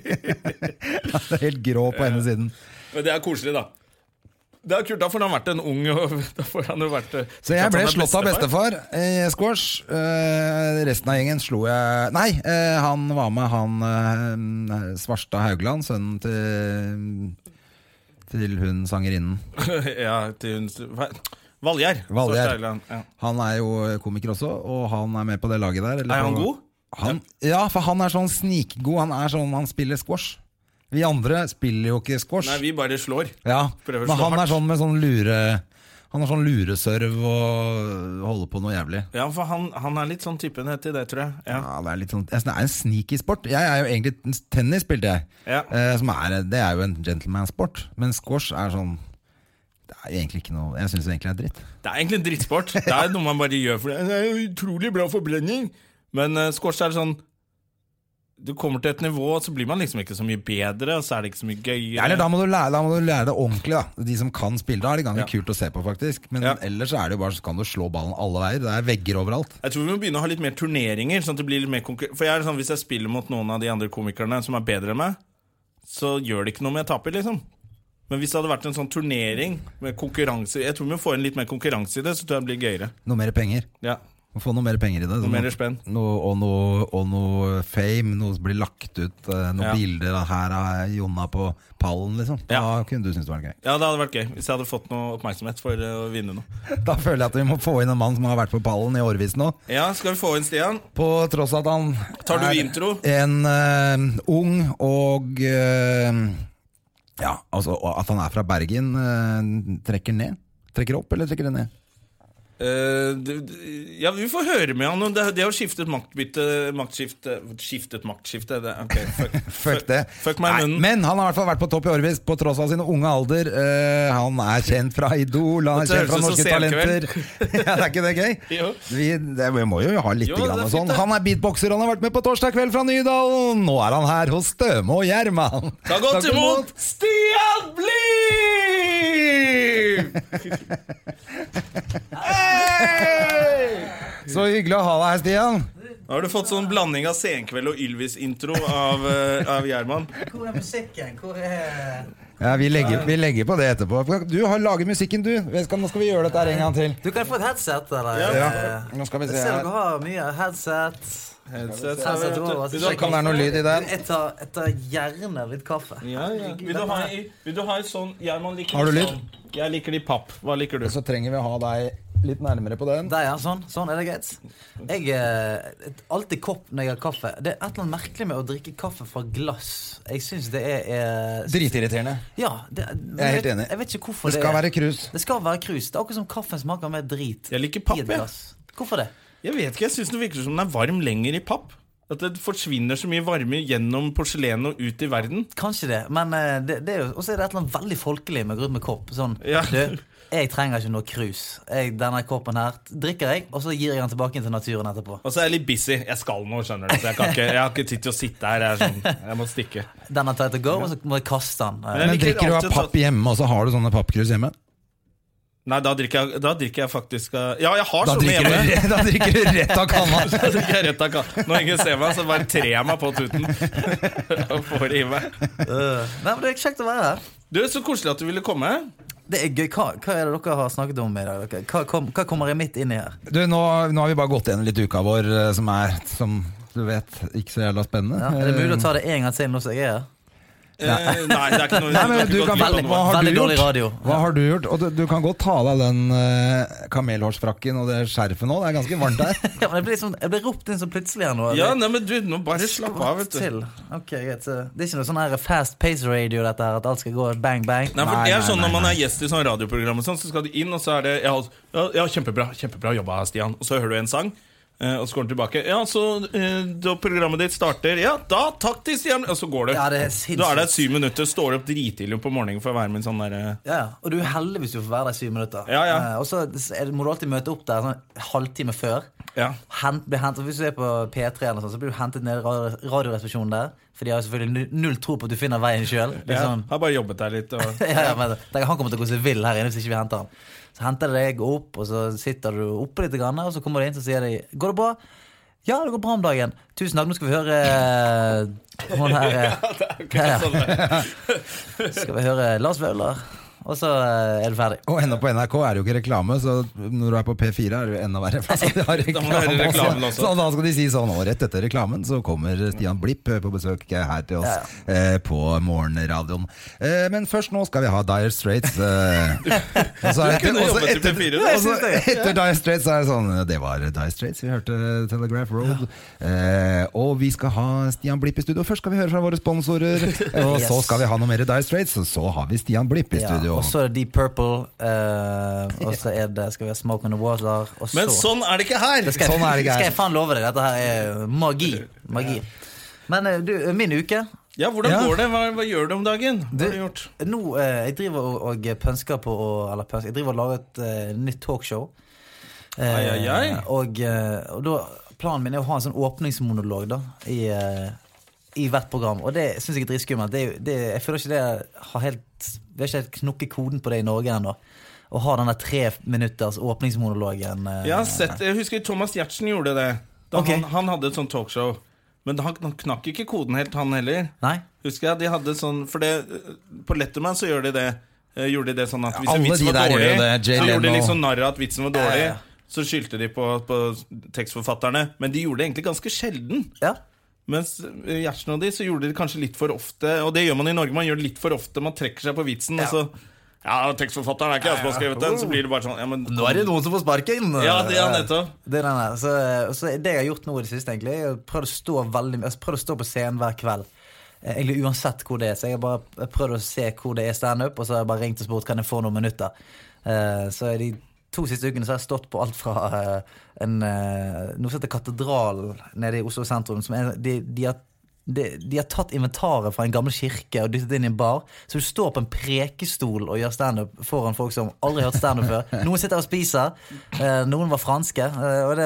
B: Han er helt grå på ene siden.
A: Men det er koselig, da. Det er kult, Da får han vært en ung og da får han jo vært eh,
B: Så jeg
A: at han
B: ble
A: er
B: slått av bestefar i squash. Eh, resten av gjengen slo jeg Nei, eh, han var med han eh, Svarstad Haugland, sønnen til Til hun sangerinnen.
A: ja, til hun hva- Valgjerd.
B: Valgjerd.
A: Svarstad Eiland, Ja.
B: Han er jo komiker også, og han er med på det laget der. eller
A: Er han
B: på-
A: god?
B: Han, ja, for han er sånn snikgod. Han er sånn, han spiller squash. Vi andre spiller jo ikke squash.
A: Nei, vi bare slår.
B: Ja,
A: Prøver å
B: men
A: slå
B: han er
A: hardt.
B: sånn med sånn lure Han har sånn lureserv og holder på noe jævlig.
A: Ja, for han, han er litt sånn typen til det, tror jeg. Ja.
B: Ja, det er litt sånn jeg synes Det er en sneaky sport. Jeg er jo egentlig Tennis spilte jeg.
A: Ja.
B: Eh, som er, det er jo en gentleman-sport. Men squash er sånn Det er jo egentlig ikke noe Jeg syns egentlig det er dritt.
A: Det er egentlig en drittsport. Det er noe man bare gjør for det. Det er jo utrolig bra forbrenning, men uh, squash er sånn Du kommer til et nivå, så blir man liksom ikke så mye bedre, og så er det ikke så mye
B: Ja,
A: gøyere.
B: Eller da må, du lære, da må du lære det ordentlig, da. De som kan spille. Da er det ganske
A: Ja.
B: kult å se på, faktisk. Men
A: Ja.
B: ellers så er det jo bare så kan du slå ballen alle veier. Det er vegger overalt.
A: Jeg tror vi må begynne å ha litt mer turneringer. Sånn at det blir litt mer konkur For jeg er sånn, Hvis jeg spiller mot noen av de andre komikerne som er bedre enn meg, så gjør det ikke noe om jeg taper, liksom. Men hvis det hadde vært en sånn turnering med konkurranse Jeg tror vi må få inn litt mer konkurranse i det, så tror jeg det blir gøyere.
B: Noe mer penger.
A: Ja,
B: Må få noe mer penger i det. Sånn
A: Noe mer spenn.
B: Noe, og, noe, og noe fame. Noe som blir lagt ut. eh, Noen
A: Ja.
B: bilder av her av Jonna på pallen, liksom. Da
A: Ja.
B: kunne du synes det var gøy.
A: ja det hadde vært gøy hvis jeg hadde fått noe oppmerksomhet for eh, å vinne noe.
B: Da føler jeg at vi må få inn en mann som har vært på pallen i årevis nå.
A: Ja, skal vi få inn Stian?
B: På tross at han
A: Tar du
B: er
A: intro?
B: en eh, ung og eh, Ja, altså og at han er fra Bergen, eh, trekker ned. Trekker opp, eller trekker det ned?
A: Eh, d- d- ja, vi får høre med han. og Det, det har skiftet maktbytte Maktskifte Skiftet maktskifte det, ok, fuck,
B: Fuck det.
A: Fuck meg i
B: Nei,
A: munnen.
B: men han har i hvert fall vært på topp i årevis, på tross av sin unge alder. Eh, han er kjent fra Idol, han er
A: Dette
B: kjent fra
A: høres ut
B: Norske
A: som
B: Talenter. ja, det er ikke det gøy?
A: Jo.
B: Vi, det, vi må jo ha litt
A: Jo,
B: grann
A: det er
B: og
A: fint,
B: sånn.
A: det.
B: Han er beatbokser, han har vært med på Torsdag kveld fra Nydalen. Nå er han her hos Støme og Gjerman.
A: Ta godt imot Stian Bliv! Hei!
B: Så hyggelig å ha deg her, Stian.
A: Nå har du fått sånn blanding av Senkveld og Ylvis-intro av, eh, av Gjerman.
C: Hvor er musikken? Hvor er,
B: Ja, vi legger, vi legger på det etterpå. Du har laget musikken, du. Vet ikke, Nå skal vi gjøre dette her en gang til.
C: Du kan få et headset, eller?
B: Ja.
C: eh,
B: Nå skal vi
C: Jeg
B: se
C: ser
B: her.
C: dere har mye headset.
A: Headset,
C: Headset,
A: vet du.
C: må være
A: Vil du
C: sikkert.
B: Sjekk om det er noe lyd i den.
C: Jeg tar, jeg tar gjerne litt kaffe.
A: Ja, ja. Vil du ha i, vil du ha i sånn ja, man liker
B: Har du
A: de
B: lyd?
A: Sånn. Jeg liker det i papp. Hva liker du?
B: Så trenger vi å ha deg litt nærmere på den.
C: Der, ja. Sånn, sånn er det greit. Jeg eh, alltid kopp når jeg har kaffe. Det er et eller annet merkelig med å drikke kaffe fra glass. Jeg syns det er eh,
B: Dritirriterende.
C: Ja, det,
B: Jeg er helt
C: vet-
B: enig.
C: Jeg vet ikke hvorfor
B: Det
C: det,
B: skal
C: er.
B: være krus.
C: Det skal være krus. Det er akkurat som kaffen smaker mer drit.
A: Jeg liker papp,
C: i et
A: jeg.
C: glass. Hvorfor det?
A: Jeg vet ikke, jeg syns det virker som den er varm lenger i papp. At det forsvinner så mye varme gjennom porselenet og ut i verden.
C: Kanskje det, men eh, det, det er jo Og så er det et eller annet veldig folkelig med å gå rundt med kopp. Sånn,
A: Ja.
C: du, jeg trenger ikke noe krus. Jeg, denne koppen her drikker jeg, og så gir jeg den tilbake til naturen etterpå.
A: Og så er jeg litt busy. Jeg skal nå, skjønner du. Så jeg, kan ikke, jeg har ikke tid til å sitte her. Jeg, er sånn, jeg må stikke.
C: Den er tight to go, og så må jeg kaste den. eh.
A: Jeg
B: Men
A: liker
B: drikker du av
A: alltid
B: papp hjemme, og så har du sånne pappkrus hjemme?
A: Nei, da drikker jeg, da drikker jeg faktisk eh, Ja, jeg har
B: Da
A: sånne
B: drikker
A: hjemme.
B: du, da drikker du rett av kanna.
A: Da drikker jeg rett av ka- Når ingen ser meg, så bare trer jeg meg på tuten og får det i meg.
C: Øh, Nei, men Det er kjekt å være her.
A: Du, så koselig at du ville komme.
C: Det er gøy. Hva, hva er det dere har snakket om i dag? dere? Hva, kom, hva kommer jeg midt inn i her?
B: Du, nå, nå har vi bare gått gjennom litt uka vår, eh, som er, som du vet, ikke så jævla spennende.
C: Ja, er det mulig å ta det en gang til nå som jeg er her?
A: Eh, nei, det er ikke noe
B: Nei, men
A: det er ikke
B: du
A: godt
B: kan
A: nytt
B: velge
A: om
B: hva
A: det.
B: har
C: Veldig
B: du
C: dårlig
B: gjort?
C: radio.
B: Hva har du gjort? Og du, du kan godt ta av deg den eh, kamelhårsfrakken og det skjerfet nå, det er ganske varmt her.
C: Ja, men jeg, blir liksom, jeg blir ropt inn så plutselig her nå.
A: Ja, nei, men du, nå bare slapp av, vet du.
C: Til. Ok, greit. så Det er ikke noe sånn her fast pace radio, dette her, at alt skal gå bang, bang.
A: Nei, for
B: Nei,
A: det er
B: nei,
A: sånn
B: nei,
A: Når man er gjest i sånn radioprogram, og sånn, så skal du inn, og så er det Ja, ja, ja kjempebra, kjempebra jobba, Stian. Og så hører du en sang, eh, og så går den tilbake. Ja, så eh, da programmet ditt starter Ja, da takk til Stian! Og så går du.
C: Ja, det er
A: Da er det
C: sinnssykt.
A: syv minutter, står opp dritidlig på morgenen for å være med i en sånn derre
C: Ja, ja. Og du er heldig hvis du får være der i syv minutter.
A: Ja, ja.
C: Eh, Og så er det- må du alltid møte opp der sånn halvtime før.
A: Ja.
C: Hent, bli hentet, hvis du er på P3, eller sånn, så blir du hentet ned i radio- radioresepsjonen der. For de har jo selvfølgelig nu- null tro på at du finner veien sjøl.
A: Jeg
C: Sånn,
A: har bare jobbet der litt. Og...
C: ja, ja, men tenk, han kommer til å gå seg vill her inne hvis ikke vi henter han. Så henter de deg opp, og så sitter du oppe litt, grann, og så kommer de inn og sier de, Går det bra? Ja, det går bra om dagen. Tusen takk. Nå skal vi høre eh, hun her eh, ja,
A: sånn
C: ja. Skal vi høre Lars Vaular, og så eh, er du ferdig.
B: Og ennå på NRK er det jo ikke reklame, så når du er på P4 er det jo enda verre. For de
A: må
B: har
A: være
B: reklame
A: reklamen
B: også.
A: også.
B: Så da skal de si sånn, og rett etter reklamen så kommer Stian Blipp eh, på besøk her til
C: Ja,
B: oss eh, på morgenradioen. Eh, men først nå skal vi ha Dire Straits. Eh, og så er det-
A: kunne
B: og så
A: jobbet i
B: etter-
A: P4, du.
B: og
A: Jeg
B: så
C: synes det.
B: Etter Dire Straits så er det sånn Det var Dire Straits, vi hørte Telegraph Road. Eh, og vi skal ha Stian Blipp i studio. Først skal vi høre fra våre sponsorer, og så
C: Yes.
B: skal vi ha noe mer Dire Straits, og så har vi Stian Blipp i
C: Ja,
B: studio.
C: og så er det Deep Purple, eh, og så er det Skal vi ha Smoke on the Water, og så
A: Men sånn er det ikke her!
C: Det skal, jeg-
B: Sånn er det ikke her.
C: skal jeg faen love deg. Dette her er magi. magi. Men eh, du, min uke
A: Ja, Hvordan
B: Ja.
A: går det? Hva, hva gjør du om dagen? Hva har du gjort?
C: Nå, eh, jeg driver og, og pønsker på å, Eller pønsker, jeg driver og lager et eh, nytt talkshow. Eh,
A: Ai, ai, ai.
C: Og, eh, og da, planen min er å ha en sånn åpningsmonolog da i, eh, i hvert program. Og det syns jeg er dritskummelt. Det, er jo- det, jeg føler ikke det har helt Vi har ikke helt knukket koden på det i Norge ennå. Å ha den der tre minutters åpningsmonologen. eh,
A: Jeg, har sett, jeg husker Thomas Giertsen gjorde det. Da
C: Ok.
A: han, han hadde et sånt talkshow. Men han, han knakk ikke koden helt, han heller.
C: Nei?
A: Husker jeg, de hadde sånn For det, på Letterman så gjør de det. eh, Gjorde de det sånn at hvis
B: Ja,
A: en
B: alle
A: vits
B: de
A: var
B: der
A: dårlig,
B: gjør jo det. Jay
A: så gjorde de
B: Leno.
A: liksom narr av at vitsen var dårlig.
C: Ja, ja, ja.
A: Så skyldte de på, på tekstforfatterne. Men de gjorde det egentlig ganske sjelden.
C: Ja?
A: Mens eh, Gjertsen og de så gjorde de det kanskje litt for ofte. Og det gjør man i Norge. Man gjør det litt for ofte. Man trekker seg på vitsen, og så Ja, tekstforfatteren er ikke jeg som har skrevet den. Så blir det bare sånn ja, men,
C: Nå er det noen som får sparken!
A: Ja, det er nettopp.
C: Det er den her. Så, så det jeg har gjort nå i det siste, egentlig, er å prøve å stå veldig mye- altså, prøvd å stå på scenen hver kveld. Eh, Egentlig uansett hvor det er. Så jeg har bare prøvd å se hvor det er standup, og så har jeg bare ringt og spurt kan jeg få noen minutter. Eh, Så de to siste ukene så har jeg stått på alt fra eh, en, eh, noe som heter Katedralen nede i Oslo sentrum. Som er, de, de har de, de har tatt inventaret fra en gammel kirke og dyttet inn i en bar. Så du står på en prekestol og gjør standup foran folk som aldri har hørt standup før. Noen sitter og spiser. eh, noen var franske. eh, og det,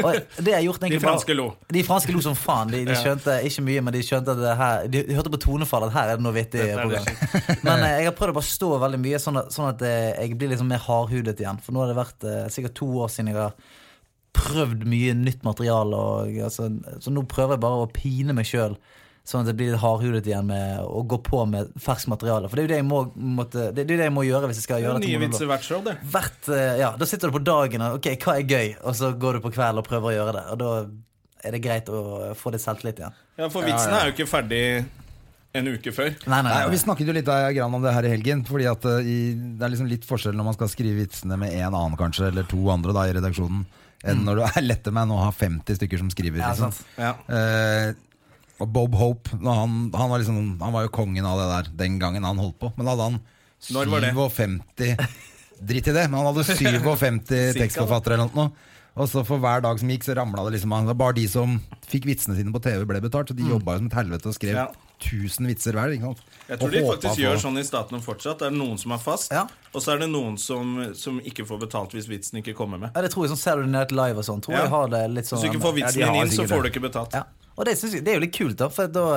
C: og det har jeg gjort egentlig
A: De franske lo.
C: De franske lo som faen. De, de skjønte ikke mye, men de skjønte at det her De, de hørte på tonefallet at her er det noe vittig.
A: er
C: program. Men eh, jeg har prøvd å bare stå veldig mye, sånn at, sånn at eh, jeg blir liksom mer hardhudet igjen. For nå har det vært eh, sikkert to år siden jeg har prøvd mye nytt materiale. Og, altså, så nå prøver jeg bare å pine meg sjøl Sånn at jeg blir litt hardhudet igjen med å gå på med ferskt materiale. For det er jo det jeg må, måtte, det, er jo det jeg må gjøre hvis jeg skal gjøre dette.
A: Nye
C: monolog.
A: vitser hvert show, det.
C: Hvert, eh, ja, Da sitter du på dagen og ok, hva er gøy, og så går du på kvelden og prøver å gjøre det. Og da er det greit å få litt selvtillit igjen.
A: Ja, For vitsene er jo ikke ferdig en uke før.
C: Nei, nei,
B: Nei, og
C: nei.
B: Vi snakket jo litt eh, grann om det her i helgen. Fordi at eh, i, Det er liksom litt forskjell når man skal skrive vitsene med en annen kanskje Eller to andre da i redaksjonen, enn når du er letterman og har 50 stykker som skriver.
C: Mm. Ja,
B: liksom.
C: sant.
A: Ja.
B: Eh, og Bob Hope når han, han, var liksom, han var jo kongen av det der den gangen han holdt på. Men da hadde han
A: Når var det?
B: 57 Drit i det, men han hadde 57
A: Cirka,
B: tekstforfattere eller noe. Og så for hver dag som gikk, så ramla det liksom han- det var Bare de som fikk vitsene sine på TV, ble betalt. Så de jobba jo som et helvete og skrev
A: Mm. Ja.
B: 1000 vitser hver. Ikke sant?
A: Jeg tror
B: Og
A: de
B: håpa
A: faktisk
B: på-
A: gjør sånn i statene fortsatt. Det er noen som er fast,
C: Ja.
A: og så er det noen som, som ikke får betalt hvis vitsen ikke kommer med.
C: Ja, det tror jeg sånn Ser du ned live og sånn, tror
A: Ja.
C: jeg har det litt sånn
A: Hvis du ikke får
C: ja,
A: vitsen
C: de har
A: din inn, så
C: sikkert
A: får du ikke betalt.
C: ja. Og det, synes jeg, det er jo litt kult, da. For da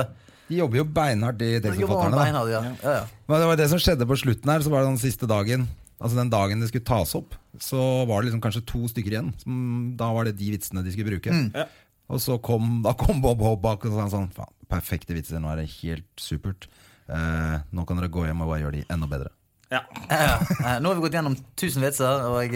B: De jobber jo beinhardt, de
C: da jobber man
B: tekstforfatterne. da.
C: beinhardt. Ja. Ja, ja.
B: Men det var det som skjedde på slutten her, så var det den siste dagen Altså den dagen det skulle tas opp, så var det liksom kanskje to stykker igjen. Som, da var det de vitsene de skulle bruke.
A: Ja.
B: Og så kom, da kom Bob Hobb bak og sa sånn Faen, perfekte vitser, nå er det helt supert. Eh, nå kan dere gå hjem og bare gjøre de enda bedre.
A: Ja.
C: Ja, ja. Eh, Nå har vi gått gjennom 1000 vitser, og jeg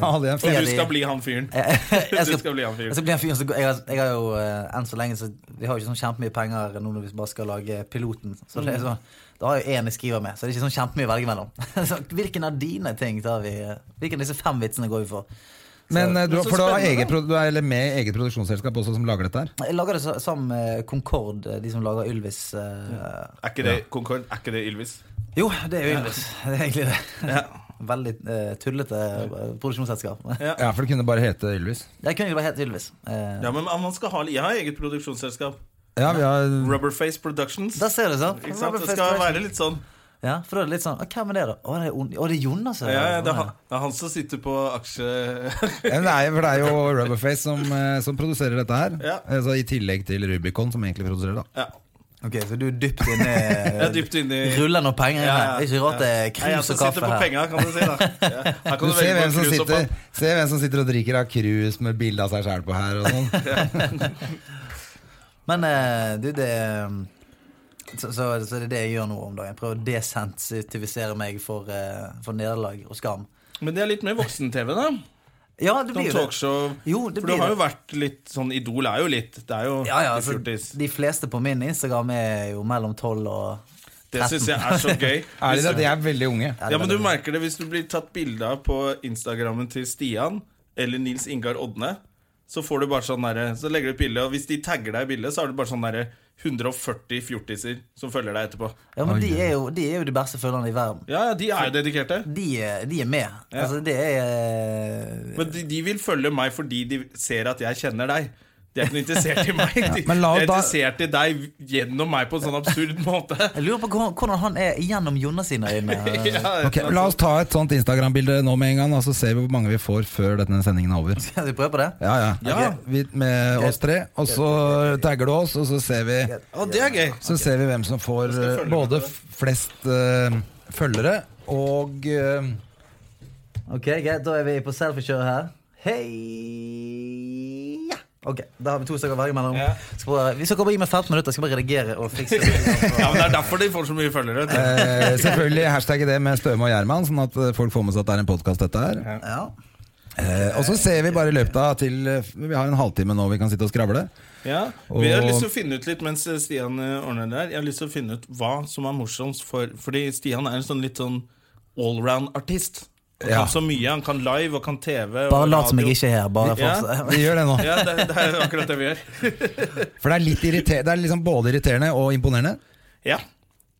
B: Ja, det er
A: Og
B: en fin-
C: er
A: du
C: de-
A: skal bli han fyren.
C: jeg, jeg
A: Du skal bli han fyren.
C: Jeg skal bli han fyren som går- jeg, har- jeg har jo eh, enn så lenge så Vi har jo ikke sånn kjempemye penger nå når vi bare skal lage piloten. Så
A: Mm.
C: det er sånn da har jeg jo én jeg skriver med, så det er ikke sånn kjempemye å velge mellom. så, hvilken av dine ting tar vi eh, Hvilken av disse fem vitsene går vi for? Så,
B: Men eh, du,
A: Men så
B: for du, har
A: spennende,
B: eget, pro- du er eller med i eget produksjonsselskap også som lager dette her?
C: jeg lager det så- sammen med Concorde, eh, de som lager Ylvis. eh,
A: Er ikke det Concord? Er ikke det Ylvis?
C: Jo, det er jo Ylvis. Det er egentlig det. Veldig eh, tullete eh, produksjonsselskap.
B: Ja, for det kunne bare hete Ylvis.
C: Jeg kunne jo bare hett Ylvis. Eh,
A: Ja, men man skal ha Jeg har eget produksjonsselskap.
B: Ja, vi har
A: Rubberface Productions.
C: Mm. Da ser du sånn.
A: Ikke sant? Det skal være litt sånn.
C: Ja, for da er det litt sånn «Å, Hvem er det, da? Å, det er, On- å, det er Jonas.
A: Ja, ja, det, er han, det er han som sitter på aksje...
B: Ja, men det er, jo- for det er jo Rubberface som, eh, som produserer dette her.
A: Ja.
B: Eh, Så I tillegg til Rubicon, som egentlig produserer det. da.
A: Ja,
C: Ok, Så du er dypt
A: jeg er
C: inne eh,
A: dypt inne i
C: Ruller noen penger inn
A: Ja,
C: her.
A: ja,
C: Det er ikke rart det er
A: Nei, jeg
C: krus
A: som
C: og
A: sitter
C: kaffe
A: på
C: her.
A: penga, kan du si. da ja. Her kan
B: Du
A: du, velge
B: ser hvhvem
A: mellom
B: som,
A: krus og
B: sitter,
A: papp.
B: ser hvem som sitter og drikker av krus med bilde av seg sjæl på her. og sånn
C: Men eh, du, det så, så, så det er det jeg gjør nå om dagen. Prøver å desensitivisere meg for, eh, for nederlag og skam.
A: Men det er litt mer voksen-TV, da.
C: Ja, det
A: Sånn
C: blir jo det.
A: talkshow.
C: Jo, det
A: For du
C: blir
A: har
C: det.
A: jo vært litt sånn Idol er jo litt Det er jo
C: Ja, ja,
A: litt
C: altså,
A: fjortis.
C: de fleste på min Instagram er jo mellom 12 og
A: Det syns jeg er så gøy.
B: Ærlig talt, de er veldig unge.
A: Ja, men du merker det hvis du blir tatt bilde av på Instagrammen til Stian eller Nils Ingar Odne. Så får du bare sånn derre- Så legger du et bilde, og hvis de tagger deg i bildet, så har du bare sånn derre 140 fjortiser som følger deg etterpå.
C: Ja, men de er jo de, er jo de beste følgerne i verden.
A: Ja, ja, de er jo dedikerte.
C: De, er- de er med. Altså, det eh, er
A: Men de, de vil følge meg fordi de ser at jeg kjenner deg. De er ikke noe interessert i meg. De,
B: men la oss
A: de er
B: da-
A: interessert i deg gjennom meg på en sånn absurd måte.
C: Jeg lurer på hvordan- hvordan han er gjennom Jonas sine øyne.
A: Ja,
B: Ok, La oss ta et sånt Instagram-bilde nå med en gang, og så ser vi hvor mange vi får før denne sendingen er over.
C: Skal vi prøve på det?
B: Ja, ja,
A: Ja.
B: Vi, Med oss tre. Og så tagger du oss, og så ser vi,
A: Og det er gøy.
B: så ser vi hvem som får
A: skal jeg
B: eh,
A: følge med på
B: både
A: det.
B: f- flest eh, følgere og eh,
C: Ok, greit, Da er vi på selfiekjøret her. Hei ja. Ok, Da har vi to stykker å velge mellom.
A: Ja.
C: Skal bare, vi skal bare gi meg 15 minutter, jeg skal bare redigere og fikse det.
A: Ja, men Det er derfor de får så mye følgere. vet du.
B: eh, Selvfølgelig hashtagge det med Støme og Gjerman, sånn at eh, folk får med seg at det er en podkast, dette her.
C: Ja.
B: Eh, og så ser vi bare i løpet av til eh, Vi har en halvtime nå vi kan sitte og skravle.
A: Ja. Vi har
B: Og-
A: lyst til å finne ut litt mens Stian eh, ordner det der. Jeg har lyst til å finne ut hva som er morsomst for Fordi Stian er en sånn litt sånn allround-artist. Han
B: Ja.
A: kan så mye. Han kan live og kan TV. Og
C: Bare lat som jeg
A: radio.
C: ikke er her. Bare
A: Ja.
C: fortsett.
B: Vi gjør det nå.
A: Ja, det, det er akkurat det vi gjør.
B: For det er litt irriterende Det er liksom både irriterende og imponerende.
A: Ja.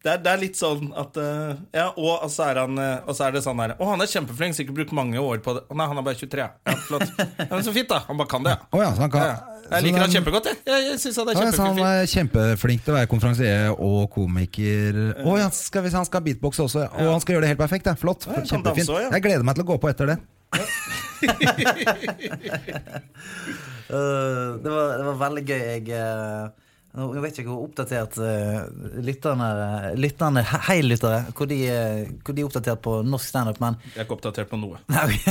A: Det er, det er litt sånn at eh, Ja, og så er, han, eh, og så er det sånn her Å, han er kjempeflink, sikkert brukt mange år på det. Å, nei, han er bare 23. ja. Ja, flott. Ja, men så fint, da. Han bare kan det, ja.
B: Å ja, så
A: ja.
B: han kan
A: ja. Jeg liker han kjempegodt, jeg. Jeg, jeg syns han er
B: Ja, så han
A: kjempeflink.
B: er kjempeflink til å være konferansier og komiker. Å ja, skal vi, han skal beatboxe også. Og han skal gjøre det helt perfekt. Ja. Flott.
A: han kan danse
B: Kjempefint.
A: også, ja.
B: Jeg gleder meg til å gå på etter det.
C: Øh, det, var, det var veldig gøy. Jeg, eh, nå nå vet jeg ikke hvor oppdatert eh, lytterne, lytterne Hei, lyttere. Hvor de, eh, hvor de er oppdatert på norsk standup, men
A: Jeg er ikke oppdatert på noe.
C: Nei, ok.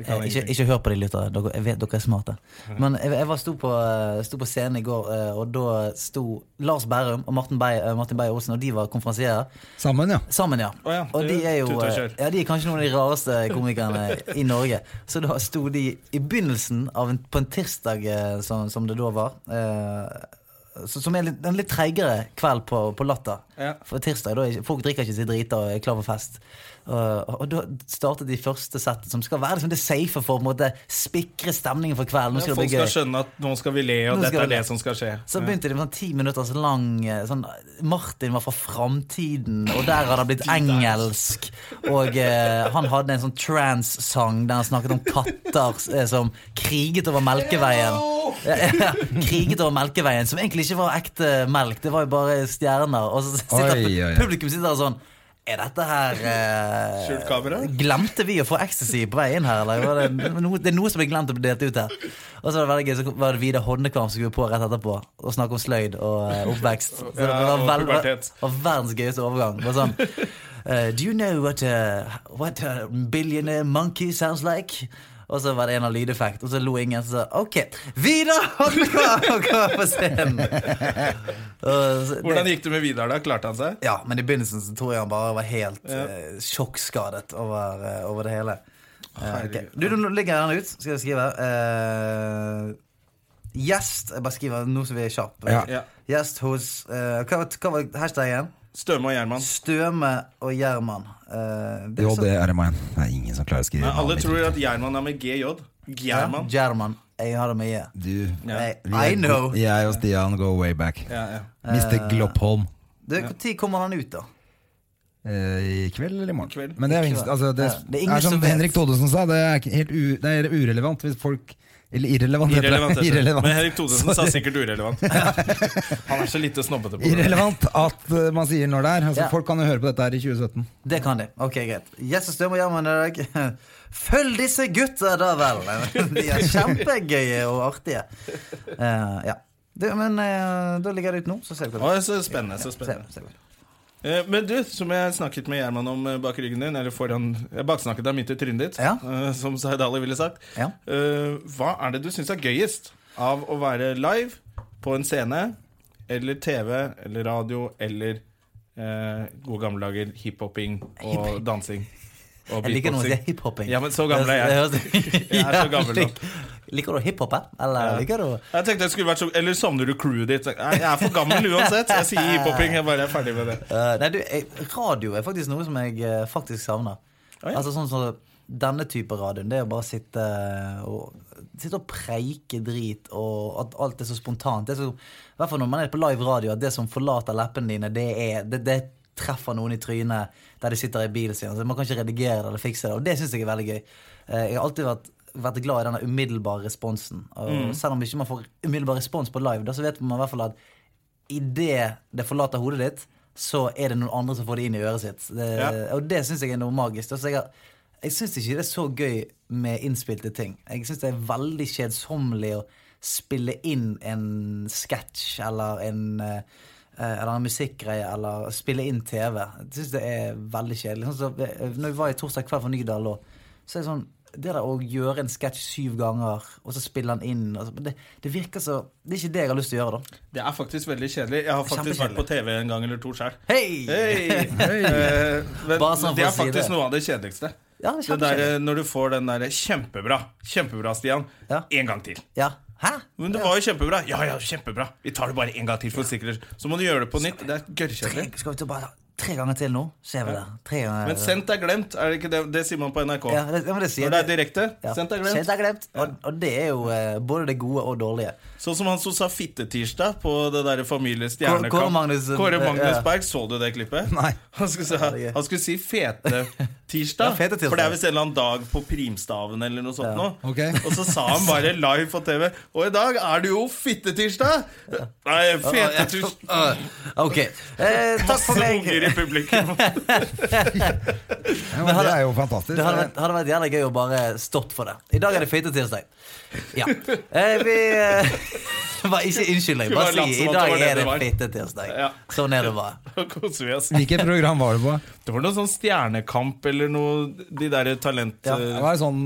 A: Vi kan
C: Eh, Ikke,
A: ingenting.
C: ikke hør på de lyttere. Dere, jeg vet dere er smarte. Men jeg, jeg var sto på, eh, sto på scenen i går, eh, og da sto Lars Bærum og Martin Beyer, eh, Martin Beyer Olsen, og de var konferansierer.
B: Sammen, ja.
C: Sammen, ja.
A: Å ja,
C: og
A: det
C: de
A: er
C: er
A: jo
C: jo
A: tut og
C: eh,
A: kjør.
C: ja, de er kanskje noen av de rareste komikerne i Norge. Så da sto de i begynnelsen av en, på en tirsdag, eh, som, som det da var, eh, så, som er litt, en litt treigere kveld på, på Latter.
A: Ja.
C: For tirsdag, da er ikke, Folk drikker ikke seg drita og er klar for fest. Og, og, da startet de første settet, som skal være liksom det safe for å på en måte spikre stemningen for kvelden.
A: Ja,
C: Nå skal det
A: Folk
C: bli
A: skal
C: gøy.
A: skjønne at nå skal vi le, og
C: Nå skal
A: dette er
C: vi le.
A: det som skal skje.
C: Så
A: Ja.
C: begynte de med sånn ti minutters lang eh, sånn, Martin var fra framtiden, og der hadde han blitt engelsk. Og eh, han hadde en sånn trans-sang der han snakket om katter eh, som kriget over Melkeveien. Ja, kriget over Melkeveien, som egentlig ikke var ekte melk, det var jo bare stjerner. Og så sitter
B: Oi, oi, oi.
C: publikum sitter der sånn er dette her eh,
A: Skjult kamera?
C: Glemte vi å få ecstasy på vei inn her? Eller? Var det, noe, det er noe som ble glemt å bli delt ut her. Og så var det veldig gøy, så var det Vidar Hodnekvam som skulle på rett etterpå og snakke om sløyd og eh, oppvekst. Så det
A: Ja,
C: var,
A: og
C: vel, var,
A: pubertet.
C: var verdens gøyeste overgang. Det var sånn eh, Do you know what, uh, what a billionaire monkey sounds like? Og så var det en av lydeffekt, og så lo ingen. Så sa OK, Vidar Hodnekvam kom på scenen! Og så-
A: Hvordan gikk det med Vidar, da? Klarte han seg?
C: ja, men i begynnelsen så tror jeg han bare var helt eh, sjokkskadet over, eh, over det hele. Eh, ok.
A: Herregud.
C: Du, du, nå legger jeg den ut, skal jeg skrive. Eh, gjest Jeg bare skriver nå som vi er kjappe.
B: Ja.
A: Ja.
C: Gjest hos eh, hva, var- hva var hashtaggen?
A: Støme og Gjerman.
C: Støme og Gjerman. Eh, det er
B: Jo,
C: sånn-
B: det er meg. Det er ingen som klarer å skrive
A: Men alle
B: navnet
A: tror
B: mitt.
A: at Gjerman er med GJ.
C: Ja,
A: Gjerman.
C: sånn- Gjerman. Jeg har det mye.
B: Du,
A: Ja.
C: Jeg,
B: vi-
C: I know.
B: Jeg og Stian go way back.
A: Ja, ja.
B: Mr. Gloppholm.
C: Du, Når kommer han ut, da?
B: Eh, I kveld eller i morgen.
A: kveld.
B: Men det er, jo
C: I
B: ingen-
C: kveld.
B: altså, det,
C: Ja, det er ingen
B: er som
C: som vet.
B: Henrik Thodesen sa, det er, ikke helt u, det er urelevant hvis folk Eller irrelevant. heter det.
A: Irrelevant. heter det.
B: irrelevant.
A: Men Henrik Thodesen sa
B: Sorry.
A: sikkert urelevant. Han er så lite snobbete på det.
B: Irrelevant at eh, man sier når det er. Altså,
C: Ja.
B: Folk kan jo høre på dette her i 2017.
C: Det kan de. Ok, greit. Yes, og Støm og Gjerman i dag. Følg disse gutta, da vel! De er kjempegøye og artige. Eh, ja. Du, men eh, da ligger det ut nå, så ser vi hva
A: Å,
C: det
A: så spennende, så
C: Ser,
A: spennende.
C: vi- ser vi.
A: Eh, Men du, som jeg snakket med Gjerman om eh, bak ryggen din, eller foran Jeg baksnakket deg midt i trynet ditt,
C: Ja.
A: eh, som Zaidali ville sagt.
C: Ja.
A: Eh, Hva er det du syns er gøyest av å være live på en scene, eller TV, eller radio, eller eh, gode gamle dager hiphoping og dansing? Og
C: Jeg liker noe å si
A: beatboxing?
C: hiphopping.
A: Ja, men så gammel er jeg. Jeg er så gammel nå.
C: Liker du hiphop, eh? eller
A: Ja.
C: liker du
A: Jeg tenkte jeg skulle vært så Eller savner du crewet ditt? Nei, Jeg er for gammel uansett. Jeg sier hiphoping. Jeg bare er ferdig med det.
C: Eh, Nei, du, jeg, radio er faktisk noe som jeg eh, faktisk savner.
A: Oi.
C: Altså sånn som denne type radioen. Det er å bare sitte eh, og, sitte og preike drit, og at alt er så spontant. Det er så, I hvert fall når man er på live radio, at det som forlater leppene dine, det, er, det, det treffer noen i trynet der de sitter i bilen sin. Altså, man kan ikke redigere det eller fikse det, og det syns jeg er veldig gøy. Eh, Jeg har alltid vært vært glad i denne umiddelbare responsen. Og Selv om ikke man får umiddelbar respons på live, da, så vet man i hvert fall at idet det forlater hodet ditt, så er det noen andre som får det inn i øret sitt. Det,
A: Ja.
C: Og det syns jeg er noe magisk. Altså, jeg har- jeg syns ikke det er så gøy med innspilte ting. Jeg syns det er veldig kjedsommelig å spille inn en sketsj eller en eh, eller en musikkgreie, eller spille inn TV. Jeg syns det er veldig kjedelig. Sånn som, eh, når vi var i Torsdag kveld for Nydal, og så er det sånn Det der å gjøre en sketsj syv ganger, og så spille den inn og så, det, det virker så Det er ikke det jeg har lyst til å gjøre, da.
A: Det er faktisk veldig kjedelig. Jeg har faktisk vært på TV en gang eller to sjøl.
C: Hei!
A: Hey. Eh, men
C: Bare sånn for
A: det
C: å
A: er
C: si
A: faktisk
C: det.
A: noe av det kjedeligste.
C: Ja, det er
A: det der,
C: kjempekjedelig.
A: eh, når du får den derre 'kjempebra', 'kjempebra, Stian',
C: Ja.
A: en gang til.
C: Ja. Hæ?
A: Men det var jo kjempebra. Ja, ja, kjempebra. Vi tar det bare en gang til for sikkerhet. Så må du gjøre det på nytt. Det er
C: Tre,
A: gørrkjedelig.
C: skal vi ta bare tre ganger til nå? Ser vi det? Tre ganger.
A: Men sendt er glemt, er det ikke det? Det sier man på NRK.
C: ja, det, ja, men det sier
A: Når det er direkte,
C: Ja.
A: sendt er
C: Sendt
A: glemt.
C: er glemt. Og, og det er jo eh, både det gode og dårlige.
A: Sånn som han som sa 'fittetirsdag' på det derre Familie
C: Kåre-
A: Stjernekamp.
C: Kåre Magnus-
A: Kåre
C: ja.
A: Magnus Berg, så du det klippet?
B: Nei.
A: Han skulle, si-
C: det er gøy.
A: han skulle si
C: Ja,
A: fete-tirsdag,
C: fete-tirsdag.
A: for det er visst en eller annen dag på primstaven eller noe sånt. nå.
B: Ok.
A: Og så sa han bare live på TV Og i dag er det jo fittetirsdag! Nei, fetetirsdag.
C: Ah, Ok. Eh, takk for
A: Masse
C: meg.
A: unger i publikum.
B: Ja, men det er jo fantastisk.
C: Det hadde vært, hadde vært jævlig gøy å bare stått for det. I dag er det feitetirsdag. Ja. Eh, vi eh, var ikke
A: Skulle
C: unnskyldning.
A: bare
C: Bare
A: latt
C: si
A: som
C: i
A: at
C: dag
A: det var det
C: er det
A: det var.
C: feitetirsdag.
A: Ja.
C: Sånn er det bare.
A: Da koser vi oss.
B: Hvilket program var
A: Eh,
B: det på?
A: Det var noe sånn Stjernekamp eller noe De derre talent...
C: Ja.
B: Det
A: eh,
B: var sånn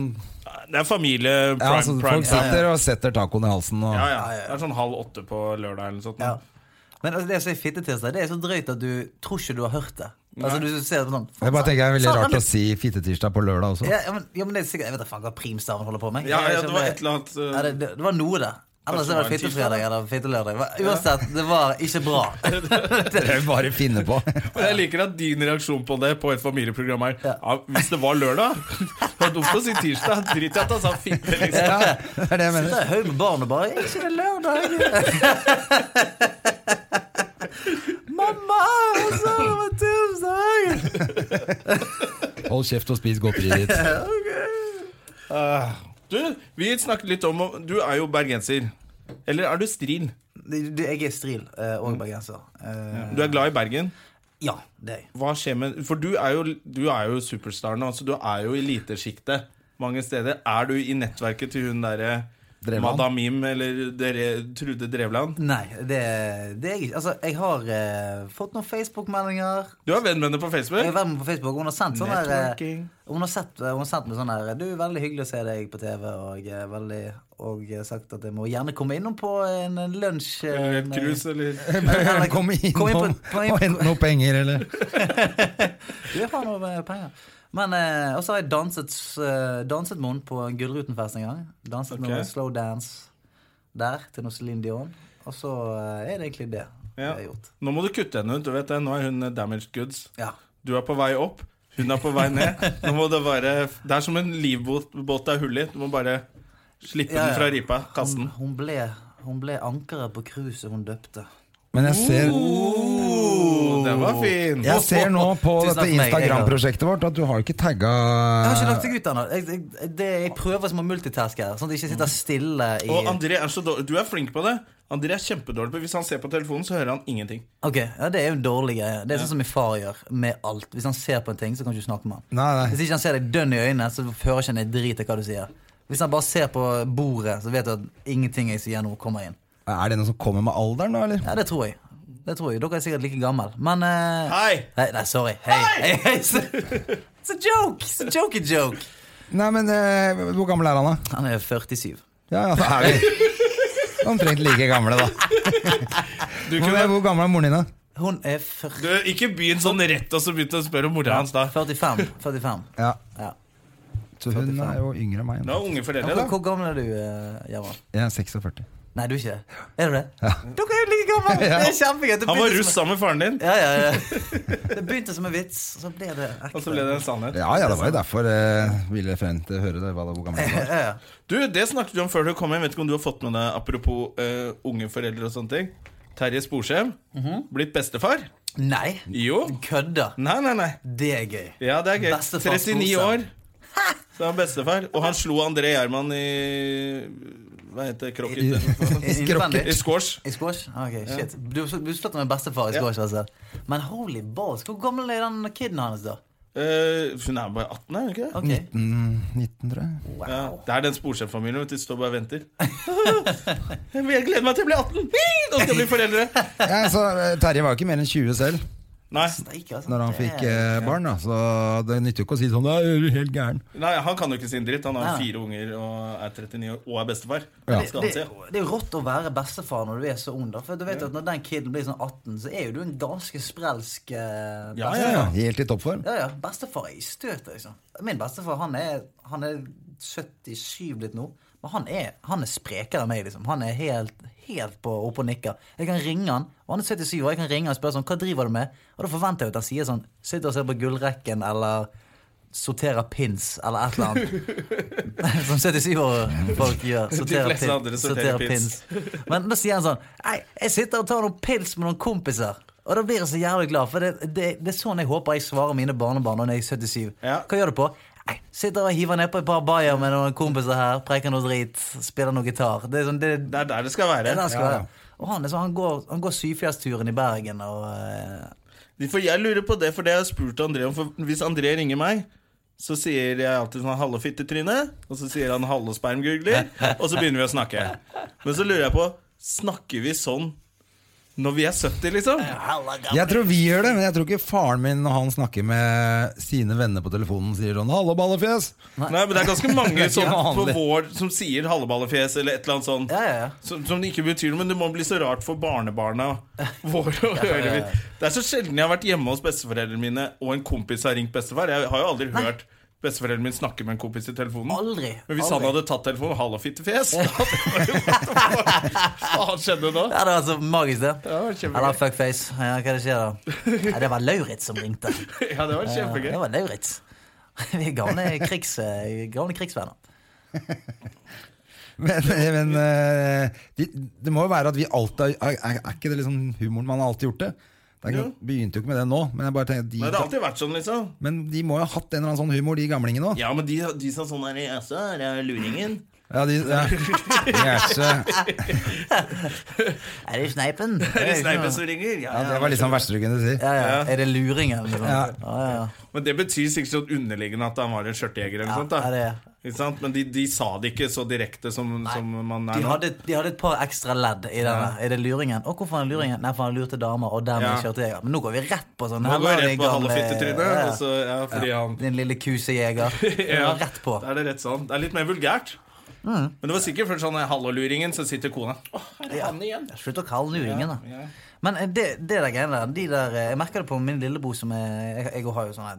A: Det er familie prime,
B: Ja, altså,
A: prime
B: folk
A: time.
B: sitter og setter tacoen i halsen. Og,
A: Ja, ja. Det er sånn halv åtte på lørdag eller noe sånt.
C: Ja. Men altså, det å si fittetirsdag, det er så drøyt at du tror ikke du har hørt det. Altså, du ser det på sånn
B: Jeg bare tenker det er veldig
C: Satan,
B: rart å si fittetirsdag på lørdag også.
C: ja, ja, men, ja, men det er sikkert Jeg vet da faen hva primstaven holder på med.
A: Ja, ja,
C: Jeg vet ikke
A: det
C: om
A: var et eller annet eh,
C: ja, det, det, det var noe der. Ellers
A: Kanskje det
C: er det
A: var en
C: fittefredag eller fittelørdag. Hva- Uansett, det var ikke bra.
B: Det er jo bare å finne på.
A: Men jeg liker at din reaksjon på det på et familieprogram er ja.
C: Ja.
A: Hvis det var lørdag Det var dumt å si tirsdag. Drit i at han sa fitte, liksom.
B: Ja, det er det jeg
C: Det
B: mener.
C: er haug med barn og bare Er ikke det lørdag? Mamma, jeg sa det var tirsdag!
B: Hold kjeft og spis godteriet ditt.
A: Ah. Du, vi snakket litt om Du er jo bergenser. Eller er du stril?
C: Du, Jeg er stril eh, og bergenser. Eh,
A: Du er glad i Bergen.
C: Ja, det er jeg.
A: Hva skjer med For du er jo, du er jo superstar nå. Altså, du er jo i elitesjiktet mange steder. Er du i nettverket til hun derre
B: Drevland?
A: Madam Mim eller dere, Trude Drevland?
C: Nei, det, det er jeg ikke. Altså, jeg har eh, fått noen Facebook-meldinger.
A: Du er venn med henne på
C: Jeg
A: Facebook?
C: er venn på Facebook. Hun har sendt sånn her eh,
A: Networking.
C: Hun har, sett, hun har sendt meg sånn her Du, veldig hyggelig å se deg på TV, og, eh, veldig, og eh, sagt at jeg må gjerne komme innom på en, en lunsj. eh,
A: Eller Et
C: med-
A: krus, eller
C: Eller-
B: Kom
C: Kom inn på-
B: innom
C: kom inn-
B: og hent noe penger, eller
C: Du, jeg har noe eh, penger. Men eh, Og så har jeg danset, eh, danset med henne på en Gullruten-fest en gang. Danset
A: Ok.
C: noe slow dance der til noe Celine Dion. Og så eh, er det egentlig det
A: Ja.
C: jeg har gjort.
A: Nå må du kutte henne ut. Du vet det, Nå er hun eh, damaged goods.
C: Ja.
A: Du er på vei opp, hun er på vei ned. Nå må det være Det er som en livbåt båt det er hull i. Du må bare slippe
C: Ja,
A: den
C: ja.
A: fra ripa. Kaste
C: Hun,
A: den.
C: hun ble, hun ble ankeret på cruiset hun døpte.
B: Men jeg ser,
A: Oh, den var fin.
B: jeg ser nå på dette
C: Tusen takk for meg,
B: Instagram-prosjektet vårt at du har ikke tagga Ah.
C: Jeg har ikke lagt deg ut ennå. Jeg, jeg, det, jeg prøver som å multitaske her, sånn at jeg ikke sitter stille i
A: Og André er så dårlig. Du er flink på det. André er kjempedårlig på Hvis han ser på telefonen, så hører han ingenting.
C: Ok, ja, Det er jo en dårlig greie. Det er sånn som min far gjør med alt. Hvis han ser på en ting, så kan du ikke snakke med han.
B: Nei, nei.
C: Hvis ikke han ser deg dønn i øynene, så hører ikke han en drit i hva du sier. Hvis han bare ser på bordet, så vet du at ingenting jeg sier nå, kommer inn.
B: Er det noe som kommer med alderen, da, eller?
C: Ja, det tror jeg. Det tror jeg. Dere er sikkert like gamle. Men eh,
A: Hei!
C: Hei, Nei, sorry. Hei! Hei, hei. Så, så joke! Så joke joke.
B: Nei, men eh, Hvor gammel er han, da?
C: Han er 47.
B: Ja, ja, da er vi omtrent like gamle, da.
A: Du
B: Hvor,
A: kunne
B: hvor gammel er moren din, da?
C: Hun er 40,
A: du, Ikke begynn sånn rett og så begynte å spørre om mora hans, da.
C: 45. 45.
B: Ja,
C: Ja.
B: så hun er jo yngre enn meg.
A: Du
B: nå.
A: har unge foreldre,
C: Hvor,
A: da.
C: hvor gammel er du, eh, Jamal?
B: Jeg er 46.
C: Nei, du er ikke det. Er du det? Dere er jo like gamle! Det er kjempegøy. Det
A: Han var
C: begynte
A: russ
C: som
A: sammen med faren din,
C: en- Ja, ja, ja. Det begynte som en vits, så ble det ekte.
A: og så ble det en sannhet.
B: Ja, ja, det var jo derfor eh, ville frem til å høre det, hva da, hvor gammel hun var.
C: ja, ja.
A: Du, Det snakket vi om før du kom hjem. Vet ikke om du har fått med deg apropos eh, unge foreldre og sånne ting. Terje Sporsem.
C: Mhm.
A: Blitt bestefar.
C: Nei,
A: Jo.
C: kødder.
A: Nei, nei, nei.
C: Det er gøy.
A: Ja, det er gøy.
C: Bestefar
A: 39
C: Sporsem.
A: år. Så er han bestefar. Og han slo André Gjerman i Hva heter det? Krokket?
C: Innvendig.
A: I squash.
C: I squash? Ah, Ok, shit. Du, du slutta med bestefar i squash, altså. Men holy balls, hvor gammel er den kiden hans, da?
A: Eh, hun er bare 18, er hun ikke det?
C: Ok,
B: 19, tror jeg.
A: Ja, det er den Sporsem-familien. vet du, De står bare og venter. Jeg gleder meg til jeg blir 18! Hii, Nå skal jeg bli foreldre!
B: Ja, så, eh, Terje var jo ikke mer enn 20 selv
A: Nei,
C: Steike, altså.
B: når han
C: Det
B: fikk
C: er-
B: eh, barn, da. Så det nytter jo ikke å si sånn Da er du helt gæren.
A: nei, han kan jo ikke sin dritt. Han har
C: Nei.
A: fire unger og er 39 år og er bestefar.
B: Ja.
A: Hva
C: Det,
A: Skal han
C: det,
A: si?
C: det er jo rått å være bestefar når du er så ung. Da. For du vet at Når den kiden blir sånn 18, så er jo du en ganske sprelsk eh, bestefar.
A: Ja,
B: Ja, ja, helt i toppform.
C: Ja, ja. Bestefar er i støtet, liksom. Min bestefar han er, han er 77 blitt nå. Men han er, han er sprekere enn meg, liksom. Han er helt, helt på, oppe og nikker. Jeg kan ringe han, og han er 77 år, jeg kan ringe han og spørre sånn, hva driver du med? Og da forventer jeg at han sier sånn, sitter og ser på gullrekken, eller sorterer pins, eller et eller annet. Som 77 år folk gjør. sorterer
A: fleste
C: pin-
A: andre sorterer pins.
C: Men da sier han sånn, nei, jeg sitter og tar noen pils med noen kompiser. Og da blir jeg så jævlig glad, for det, det, det er sånn jeg håper jeg svarer mine barnebarn når jeg er 77.
A: Ja.
C: Hva gjør du på? Nei, sitter og hiver ned på et par bayer med noen kompiser her, preker noe drit, spiller noe gitar. Det er sånn, det, det,
A: Det er der det skal
C: er
A: være.
C: det han skal
B: Ja, ja.
C: være. Og han, er sånn, han går, han går syfjellsturen i Bergen og eh,
A: For jeg lurer på det, for det har jeg spurt André om. For hvis André ringer meg, så sier jeg alltid sånn 'halve fittetryne', og så sier han 'halve spermgugler', og så begynner vi å snakke. Men så lurer jeg på Snakker vi sånn når vi er 70, liksom.
B: Jeg tror vi gjør det, men jeg tror ikke faren min når han snakker med sine venner på telefonen, sier sånn 'hallo, ballefjes'.
A: Nei, men Det er ganske mange som, på
B: vanlig.
A: vår, som sier halleballefjes eller et eller annet sånt.
C: Ja, ja, ja.
A: Som, som det ikke betyr noe, men det må bli så rart for barnebarna våre å høre. Det er så sjelden jeg har vært hjemme hos besteforeldrene mine, og en kompis har ringt bestefar. Jeg har jo aldri hørt besteforeldrene mine snakke med en kompis i telefonen.
C: Aldri,
A: Men hvis han
C: aldri.
A: hadde tatt telefonen 'hallo, fittefjes' da hadde jeg bare, Hva faen skjedde da?
C: Ja, det var så magisk, det.
A: Ja, det var kjempegøy.
C: Eller fuckface. Ja, hva er det skjer da? Ja, det var Lauritz som ringte.
A: Ja, det var
C: Ja,
A: kjempegøy.
C: det var Lauritz. Vi er gamle, krigs, eh, gamle krigsvenner.
B: Men, men eh, de, det må jo være at vi alltid har- er, er ikke det liksom humoren man har alltid gjort det? det er ikke,
A: Jo.
B: Begynte jo ikke med det nå, men jeg bare tenker
A: Nei, det har
B: de,
A: alltid vært sånn, liksom.
B: Men de må jo ha hatt en eller annen sånn humor, de gamlingene òg.
A: Ja, men de, de som sånn er i ESA, er luringen.
B: Ja, de, ja. Jæsje.
C: Er det sneipen?
A: Er det sneipen som ringer? Ja,
B: Ja, det var liksom verste du kunne si.
C: Ja, ja. Er det luringen? Liksom?
B: Ja.
C: Ja. Ja, ja.
A: Men det betyr sikkert sånn underliggende at han var en skjørtejeger eller noe sånt.
C: Ja,
A: da
C: det er-
A: Ikke sant? Men de, de sa det ikke så direkte som, som man er
C: De,
A: nå.
C: hadde, de hadde et par ekstra ledd i denne. Er det luringen? Og hvorfor er det luringen? Nei, for han lurte damer, og dermed
A: Ja.
C: kjørte jeger. Men nå går vi rett på sånn.
A: Man
C: Her var
A: går
C: de
A: rett på
C: gamle-
A: halvfittetrynet.
C: Ja, ja.
A: og så- Ja, fordi han
C: Din lille kusejeger.
A: Ja.
C: Ja, Rett på. Mm.
A: Da er det rett sånn. Det er litt mer vulgært. Men det var sikkert først sånn halloluringen, så sitter kona Åh, er det han igjen?
C: Slutt å kalle den uringen, da.
A: Ja.
C: Men eh, det, det der greiene der, de der eh, Jeg merker det på min lillebro som er Jeg, jeg har jo sånn
A: Ja,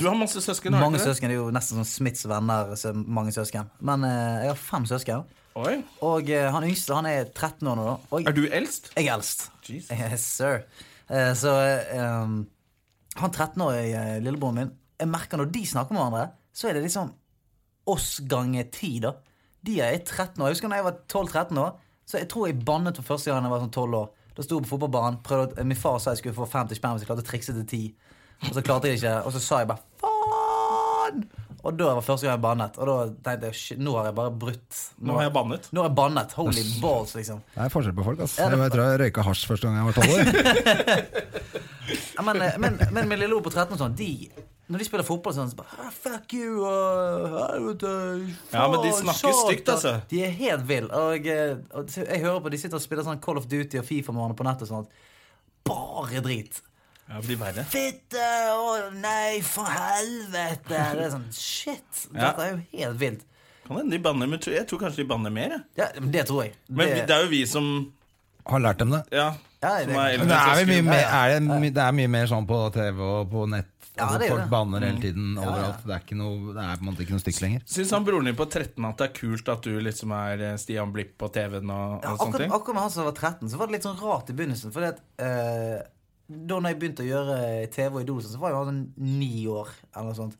A: du har masse søsken, har du
C: Mange
A: ikke det?
C: søsken. Det er jo nesten sånn Smiths venner. Så mange søsken. Men eh, jeg har fem søsken.
A: Oi.
C: Og eh, han yngste han er 13 år nå, da. Og
A: Er du eldst?
C: jeg er eldst.
A: Jesus.
C: Yes, sir. Eh, så eh, um, han 13-årige eh, lillebroren min Jeg merker når de snakker med hverandre, så er det liksom oss ganger ti, da. De er 13 år. Jeg husker da jeg var 12-13 år, så jeg tror jeg bannet for første gang da jeg var sånn 12 år. Da sto jeg på fotballbanen, prøvde, min far sa jeg skulle få 50 spenn hvis jeg klarte å trikse til 10. Og så klarte jeg det ikke, og så sa jeg bare faen! Og da var første gang jeg bannet. Og da tenkte jeg shit, nå har jeg bare brutt.
A: Nå har jeg bannet.
C: Nå har jeg bannet. Holy balls, liksom.
B: Det er forskjell på folk, ass.
C: Ja, det-
B: Jeg tror jeg røyka hasj første gang jeg var tolv år.
C: Ja, men, eh, men, men min lille O på 13 og sånn, de, når de spiller fotball sånn, så bare ah, Fuck you og «Ah, helvete
A: Ja, men de
C: faen,
A: snakker
C: satan.
A: stygt, altså.
C: De er helt ville. Og, eh, og så- jeg hører på de sitter og spiller sånn Call of Duty og Fifa med hverandre på nettet og sånn. Bare drit.
A: Ja, det blir verre.
C: Fitte! Å nei, for helvete! Det er sånn shit.
A: Ja.
C: Dette er jo helt vilt.
A: Kan hende de banner, men jeg tror kanskje de banner mer. jeg.
C: Ja, men det tror jeg.
A: Men vi-
C: det,
A: det er jo vi som
B: Har lært dem det.
A: Ja,
C: Ja, det-
A: som er
B: Men det
A: eldre
B: er,
A: søsken.
B: vel mye mer, er det, my- det er mye mer sånn på TV og på nett.
C: Ja,
B: Altså,
C: det er
B: folk
C: det.
B: banner hele tiden overalt. Det er, ikke noe, det er på en måte ikke noe stygt lenger.
A: Syns han broren din på 13 at det er kult at du liksom er eh, Stian Blipp på TV-en og,
C: Ja,
A: og sånne
C: akkurat,
A: ting?
C: akkurat når han som var 13, så var det litt sånn rart i begynnelsen. Fordi at eh, Da når jeg begynte å gjøre TV og Idol, og sånn, så var jo han sånn ni år. eller noe sånt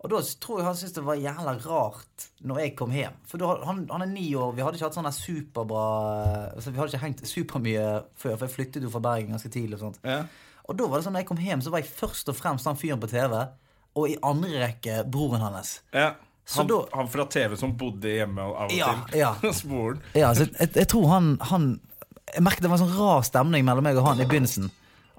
C: Og da tror jeg han syntes det var jævla rart når jeg kom hjem. For da, han, han er ni år, vi hadde ikke hatt sånn der superbra altså, Vi hadde ikke hengt supermye før, for jeg flyttet jo fra Bergen ganske tidlig. og sånt
A: Ja.
C: Og da var det sånn når jeg kom hjem, så var jeg først og fremst han fyren på TV, og i andre rekke broren hans.
A: Ja.
C: Så
A: Han,
C: da-
A: han fra TV som bodde hjemme av og
C: Ja,
A: til.
C: ja.
A: Hos broren.
C: Ja, altså, jeg, jeg tror han, han Jeg merket det var en sånn rar stemning mellom meg og han i begynnelsen.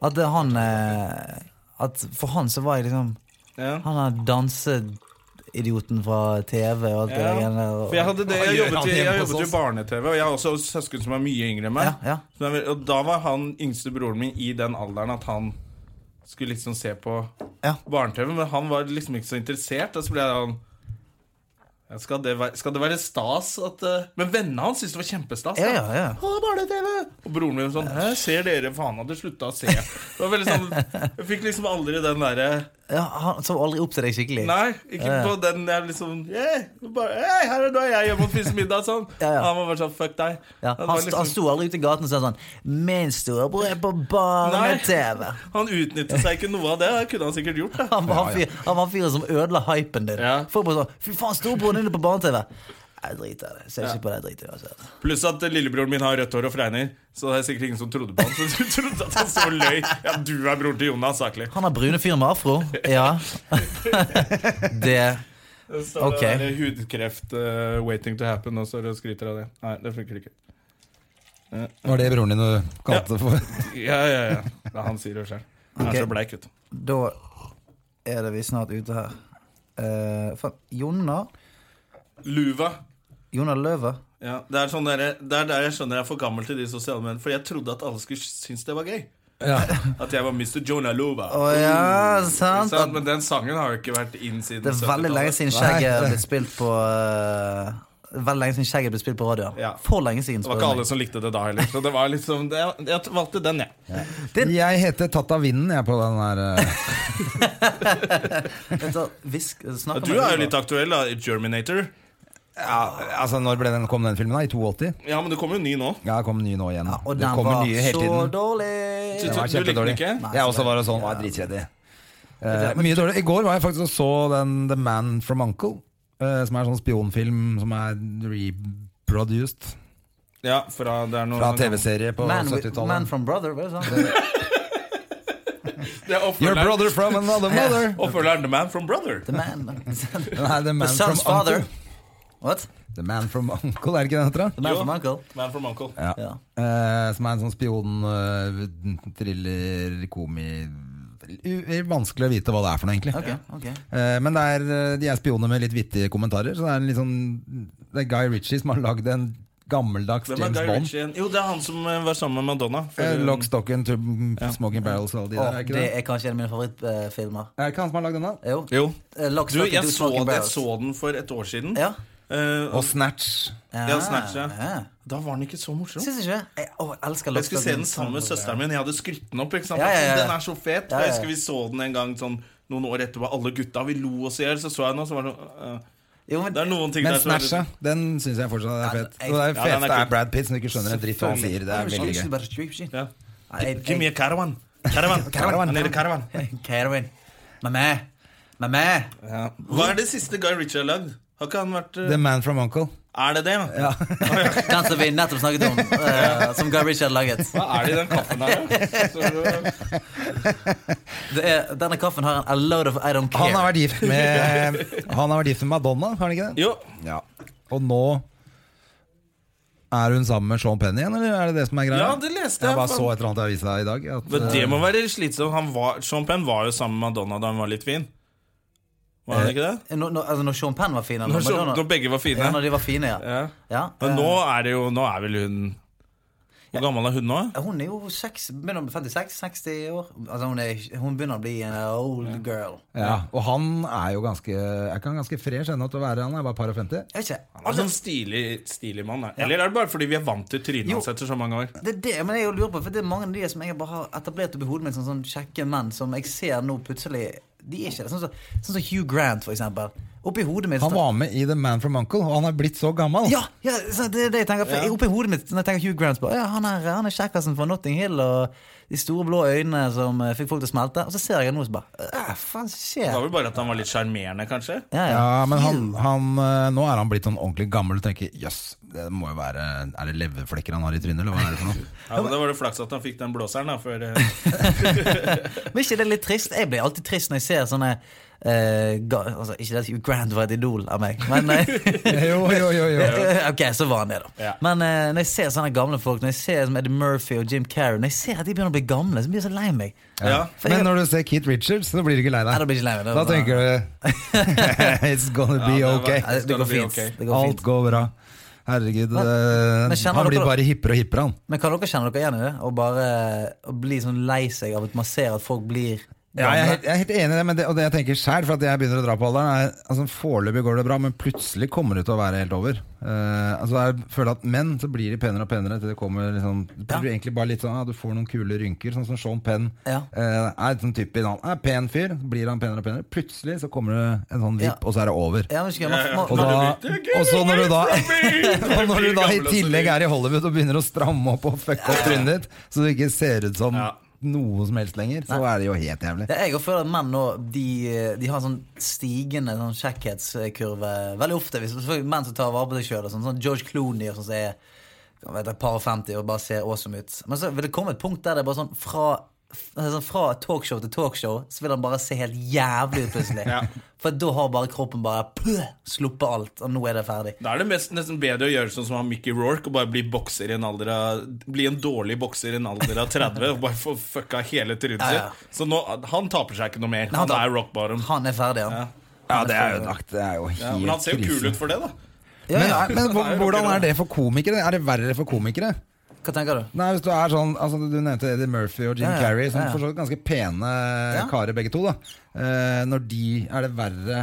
C: At eh, han eh, At for han så var jeg liksom
A: Ja.
C: Han er danseidioten fra TV eh, og alt det
A: Ja.
C: der greiene der.
A: For jeg, hadde det, jeg jobbet, i- jeg jobbet jo i barne-TV, og jeg har også søsken som er mye yngre enn meg.
C: Ja, ja.
A: Så det er vel- Og da var han yngste broren min i den alderen at han skulle liksom se på
C: Ja.
A: barne-TV, men han var liksom ikke så interessert. Og så ble jeg han ja, skal, det være, skal det være stas at eh, Men vennene hans syntes det var kjempestas.
C: Ja,
A: da.
C: ja, ja.
A: Å, barne-TV! Og broren min sånn Hæ, ser dere faen hadde slutta å se? Det var veldig sånn Jeg fikk liksom aldri den derre
C: ja, han så aldri opp til deg skikkelig.
A: Nei, ikke på den jeg liksom yeah, bare, hey, her er, Nå er jeg hjemme og spiser middag sånn.
C: Ja, ja.
A: Han var bare sånn Fuck deg. Det
C: Ja, han,
A: var liksom,
C: st- han sto aldri ute i gaten og sa sånn 'Min storebror er på barne-TV'.
A: han utnyttet seg ikke noe av det. Det kunne han sikkert gjort. Da.
C: Han var han fyr- han var fyren som ødela hypen din.
A: Ja.
C: Folk bare sånn 'Fy faen, storebroren din er på barne-TV'. Jeg driter i det. Ser ikke på det. Jeg driter i det. altså. uansett.
A: Pluss at eh, lillebroren min har rødt hår og fregner, så det er sikkert ingen som trodde på han. Så du trodde at han så løy. Ja, du er broren til Jonas, saklig.
C: Han har brune fyr med afro. Ja. det
A: Så
C: Ok.
A: det er hudkreft eh, waiting to happen, og så skryter av det. Nei, det funker ikke.
B: Var det broren din du kalte det for?
A: Ja, ja, ja. Ja, han sier det sjøl. Han er
C: Ok.
A: så bleik, vet du.
C: Da er det vi snart ute her. Eh, faen, Jonna
A: Luva.
C: Jonna Løve.
A: Ja, det, er sånn der, det er der jeg skjønner jeg er for gammel til de sosiale mediene. For jeg trodde at alle skulle synes det var gøy.
B: Ja.
A: At jeg var Mr. Jonah Lova.
C: Å ja, sant?
A: Mm. Sant? Men den sangen har jo ikke vært inn siden
C: Det er
A: 70-tallet.
C: veldig lenge siden
B: Nei,
C: Skjegget
B: det-
C: ble spilt på eh, Veldig lenge siden Skjegget ble spilt på radioen.
A: Ja.
C: For lenge siden.
A: Det var
C: spør
A: ikke
C: du
A: alle som likte det da heller. Så det var liksom, det, jeg valgte den, jeg. Ja.
B: Jeg heter Tatt av vinden, jeg, på den her eh,
C: meg. Vent da, hvisk, snakk om
A: Du
C: det.
A: er jo litt aktuell, da. i Germinator.
B: ja, Altså, når ble den, kom den filmen? da? I 82?
A: Ja, men det kommer jo ny nå.
B: Ja, kom ny nå igjen.
C: Og
B: det
C: den
B: kommer
C: var
B: nye hele
C: så
B: tiden.
A: Du,
C: dårlig.
B: Den var
A: du likte den
B: kjempedårlig.
A: ikke?
C: Nei,
B: Jeg
C: så
B: også var sånn, var dritredd i. Eh, mye dårlig. I går var jeg faktisk og så den The Man From Uncle, eh, som er en sånn spionfilm som er reproduced
A: Ja, fra, det er noe
B: fra TV-serie på
C: Man, with, man
B: 70-tallet.
C: from brother, var det sånn?
A: Det er
B: Your
A: oppfølgeren-
B: brother from another mother.
A: oppfølgeren The Man From Brother.
C: The man.
B: Nei, The
C: The
B: Man From
C: son's father.
B: Uncle.
C: What?
B: The Man From Uncle, er det ikke den heter? da?
C: The man
A: Jo.
C: from uncle?
A: Man From Uncle.
B: Ja.
C: Ja.
B: Eh, som er en sånn spion, eh, thriller, komi u- Vanskelig å vite hva det er for noe, egentlig.
C: Ok, ok.
B: Eh, Men det er, eh, de er spioner med litt vittige kommentarer. Så det er, en litt sånn, det er Guy Ritchie som har lagd en gammeldags
A: Hvem er
B: James
A: Guy
B: Bond.
A: Ritchie igjen? Jo, det er han som eh, var sammen med Madonna. For,
B: Eh, Lock, stock and two smoking barrels og alle de der. Er
C: Å,
B: det ikke
C: det
B: det?
C: er kanskje en av mine favorittfilmer.
B: Er det ikke han som har lagd den, da?
C: Jo.
A: Jo.
C: Eh, Lock,
A: Du,
C: Stock and
A: jeg
C: Two
A: så,
C: Smoking
A: jeg
C: Barrels.
A: så den for et år siden.
C: Ja. Ah,
A: Eh,
B: Og Snatch.
A: Ja, Snatch, ja.
C: ja.
A: da var den ikke så morsom.
C: Syns ikke det? Jeg, å, jeg elsker
A: Jeg skulle
C: Lock, Stock
A: se
C: and-
A: den sammen med søsteren min. Jeg hadde skrytt den opp. ikke sant?
C: Ja, ja, ja.
A: Den er så fet.
C: Ja, ja, ja.
A: Jeg husker vi så den en gang sånn, noen år etterpå. Alle gutta, vi lo oss i hjel. Så så jeg den, og så var det sånn eh,
C: Jo, men
A: Det er noen ting
B: Men
A: der som er litt-
B: Snatcha, den syns jeg fortsatt er fet.
C: jeg-
A: Ja,
B: Og det er
A: den er
B: feteste
A: kul.
B: er Brad Pitt, som ikke skjønner en dritt hva han sier. Det er veldig gøy.
A: ja. Give me
C: Give
A: a caravan. Caravan.
B: Caravan.
A: I need a caravan.
C: Catherine. Mamma. Mamma.
A: Hva er det siste Guy Ritchie har lagd? Har ikke han vært eh,
B: The Man From Uncle.
A: Er det det? Ja.
C: Den som vi nettopp snakket om, eh, som Guy Ritchie hadde laget.
A: Hva er det i den kaffen her? da? Så,
C: Det er, denne kaffen har en a load of I don't care.
B: Han har vært gift med, eh, han har vært gift med Madonna, har han ikke det?
A: jo.
B: Ja. Og nå er hun sammen med Sean Penn igjen, eller er det det som er greia?
A: Ja, det leste jeg.
B: Jeg bare
A: Faen.
B: så et eller annet i avisa i dag. At,
A: Men det må være slitsomt. Han var, Sean Penn var jo sammen med Madonna da hun var litt fin. Var han ikke det?
C: Når, når, altså, når Sean Penn var fin, eller
A: Når, Sean-
C: Madonna-
A: når begge var
C: ja,
A: fine.
C: når de var fine, ja.
A: Ja.
C: ja.
A: Men nå er det jo Nå er vel hun Hvor gammel er hun nå?
C: Eh, Hun er jo seks, begynner å bli 56, 60 år. Altså, hun, er, hun begynner å bli en old girl.
B: eh, ja, og han er jo ganske Er ikke han ganske fresh ennå til å være? Han er bare par og 50.
C: Jeg vet ikke.
A: Han er sånn stilig, stilig mann. da. Eller er det bare fordi vi er vant til trynet
C: Jo.
A: hans etter så mange år?
C: Det er det, men jeg jo lurer på, for det er mange av de som jeg bare har etablert oppi hodet mitt som sånn kjekke menn, som jeg ser nå plutselig De er ikke det. Sånn som sånn som Hugh Grant, for eksempel. Oppi hodet mitt
B: Han var med i The Man From Uncle, og han er blitt så gammel.
C: Ja! ja så det er det jeg tenker. For jeg, oppi hodet mitt når jeg tenker Hugh Grant, så bare, ja, han er, han er kjekkasen fra Notting Hill og de store blå øynene som eh, fikk folk til å smelte. Og så ser jeg ham nå og så bare Æh, faen,
A: Det
C: skjer?
A: var vel bare at han var litt sjarmerende, kanskje?
C: Ja, ja.
B: Ja, men han, han, eh, nå er han blitt sånn ordentlig gammel og tenker jøss, det må jo være Er det leverflekker han har i trynet, eller hva er det for noe?
A: Ja, men Altså, Da var det flaks at han fikk den blåseren, da. For, eh,
C: Men ikke det er litt trist? Jeg blir alltid trist når jeg ser sånne eh, ga, altså, Ikke det at Hugh Grant var et idol av meg, men eh,
B: jo, jo, jo, jo.
C: Ok, så var han det, da.
A: Ja.
C: Men eh, når jeg ser sånne gamle folk, når jeg ser som Eddie Murphy og Jim Carrey Når jeg ser at de begynner å bli gamle, så blir jeg så lei meg.
A: ja.
C: For
B: Men
C: jeg,
B: når du ser Keith Richards, så blir du ikke lei
C: Nei, da
B: deg.
C: blir jeg ikke lei meg.
B: Da tenker du It's gonna be
A: Ja, det var-
B: ok.
C: Nei, det
A: Skal
C: går
A: det bli
C: fint.
A: ok?
C: Det går
B: Alt
C: fint.
B: går bra. Herregud. eh,
C: men kjenner
B: han blir
C: dere-
B: bare hippere og hippere, han.
C: Men kan dere kjenne dere igjen i det? Å bare å bli sånn lei seg av at man ser at folk blir
B: Ja, jeg, er
C: gamle?
B: helt- jeg er helt enig i det, men det, og det jeg tenker selv, for at jeg begynner å dra på alderen er, altså, Foreløpig går det bra, men plutselig kommer det til å være helt over. Eh, altså, jeg føler at Menn så blir de penere og penere til det kommer liksom, Det blir egentlig bare litt sånn ah, du får noen kule rynker. Sånn som Sean Penn
C: Ja.
B: eh, er sånn typisk han er pen fyr, så blir han penere og penere. Plutselig så kommer det en sånn vipp,
C: Ja.
B: og så er det over.
C: Ja, men ikke, man,
B: Og,
C: man, man,
B: da,
A: du blir-
B: og så når du da og når du da i
A: Gamle og så
B: tillegg
A: blir-
B: er i Hollywood og begynner å stramme opp og fucke opp trynet ditt, så du ikke ser ut som
A: Ja.
B: noe som helst lenger, så er det jo helt jævlig.
C: det er jeg og føler at menn nå de, de har en sånn stigende sånn kjekkhetskurve veldig ofte. Hvis, selvfølgelig menn som tar vare på seg sjøl. Sånn, sånn George Clooney og sånn som er kan være et par og 50 og bare ser awesome ut. Men så vil det komme et punkt der det er bare sånn fra, altså sånn fra talkshow til talkshow så vil han bare se helt jævlig ut plutselig.
A: Ja.
C: For da har bare kroppen bare pøh, sluppet alt, og nå er det ferdig.
A: Da er det mest, nesten bedre å gjøre sånn som han Mickey Rourke og bare bli bokser i en alder av Bli en dårlig bokser i en alder av 30 og bare få fucka hele trynet
C: Ja, ja.
A: sitt. Så nå, han taper seg ikke noe mer. Han
C: tar-
A: er rock bottom.
C: Han er ferdig, han.
B: Ja, det er jo, det er jo helt
A: Ja, men han ser jo kul ut for det, da.
C: Ja, ja.
B: Men, men hvor-
A: jo
B: hvordan
A: rockere,
B: er det for komikere? Er det verre for komikere?
C: Hva tenker du?
B: Nei, hvis Du er sånn, altså du nevnte Eddie Murphy og Jim
C: Ja, ja,
B: Carrey, som
C: ja, ja.
B: for så vidt ganske pene karer begge to. da eh, Når de er det verre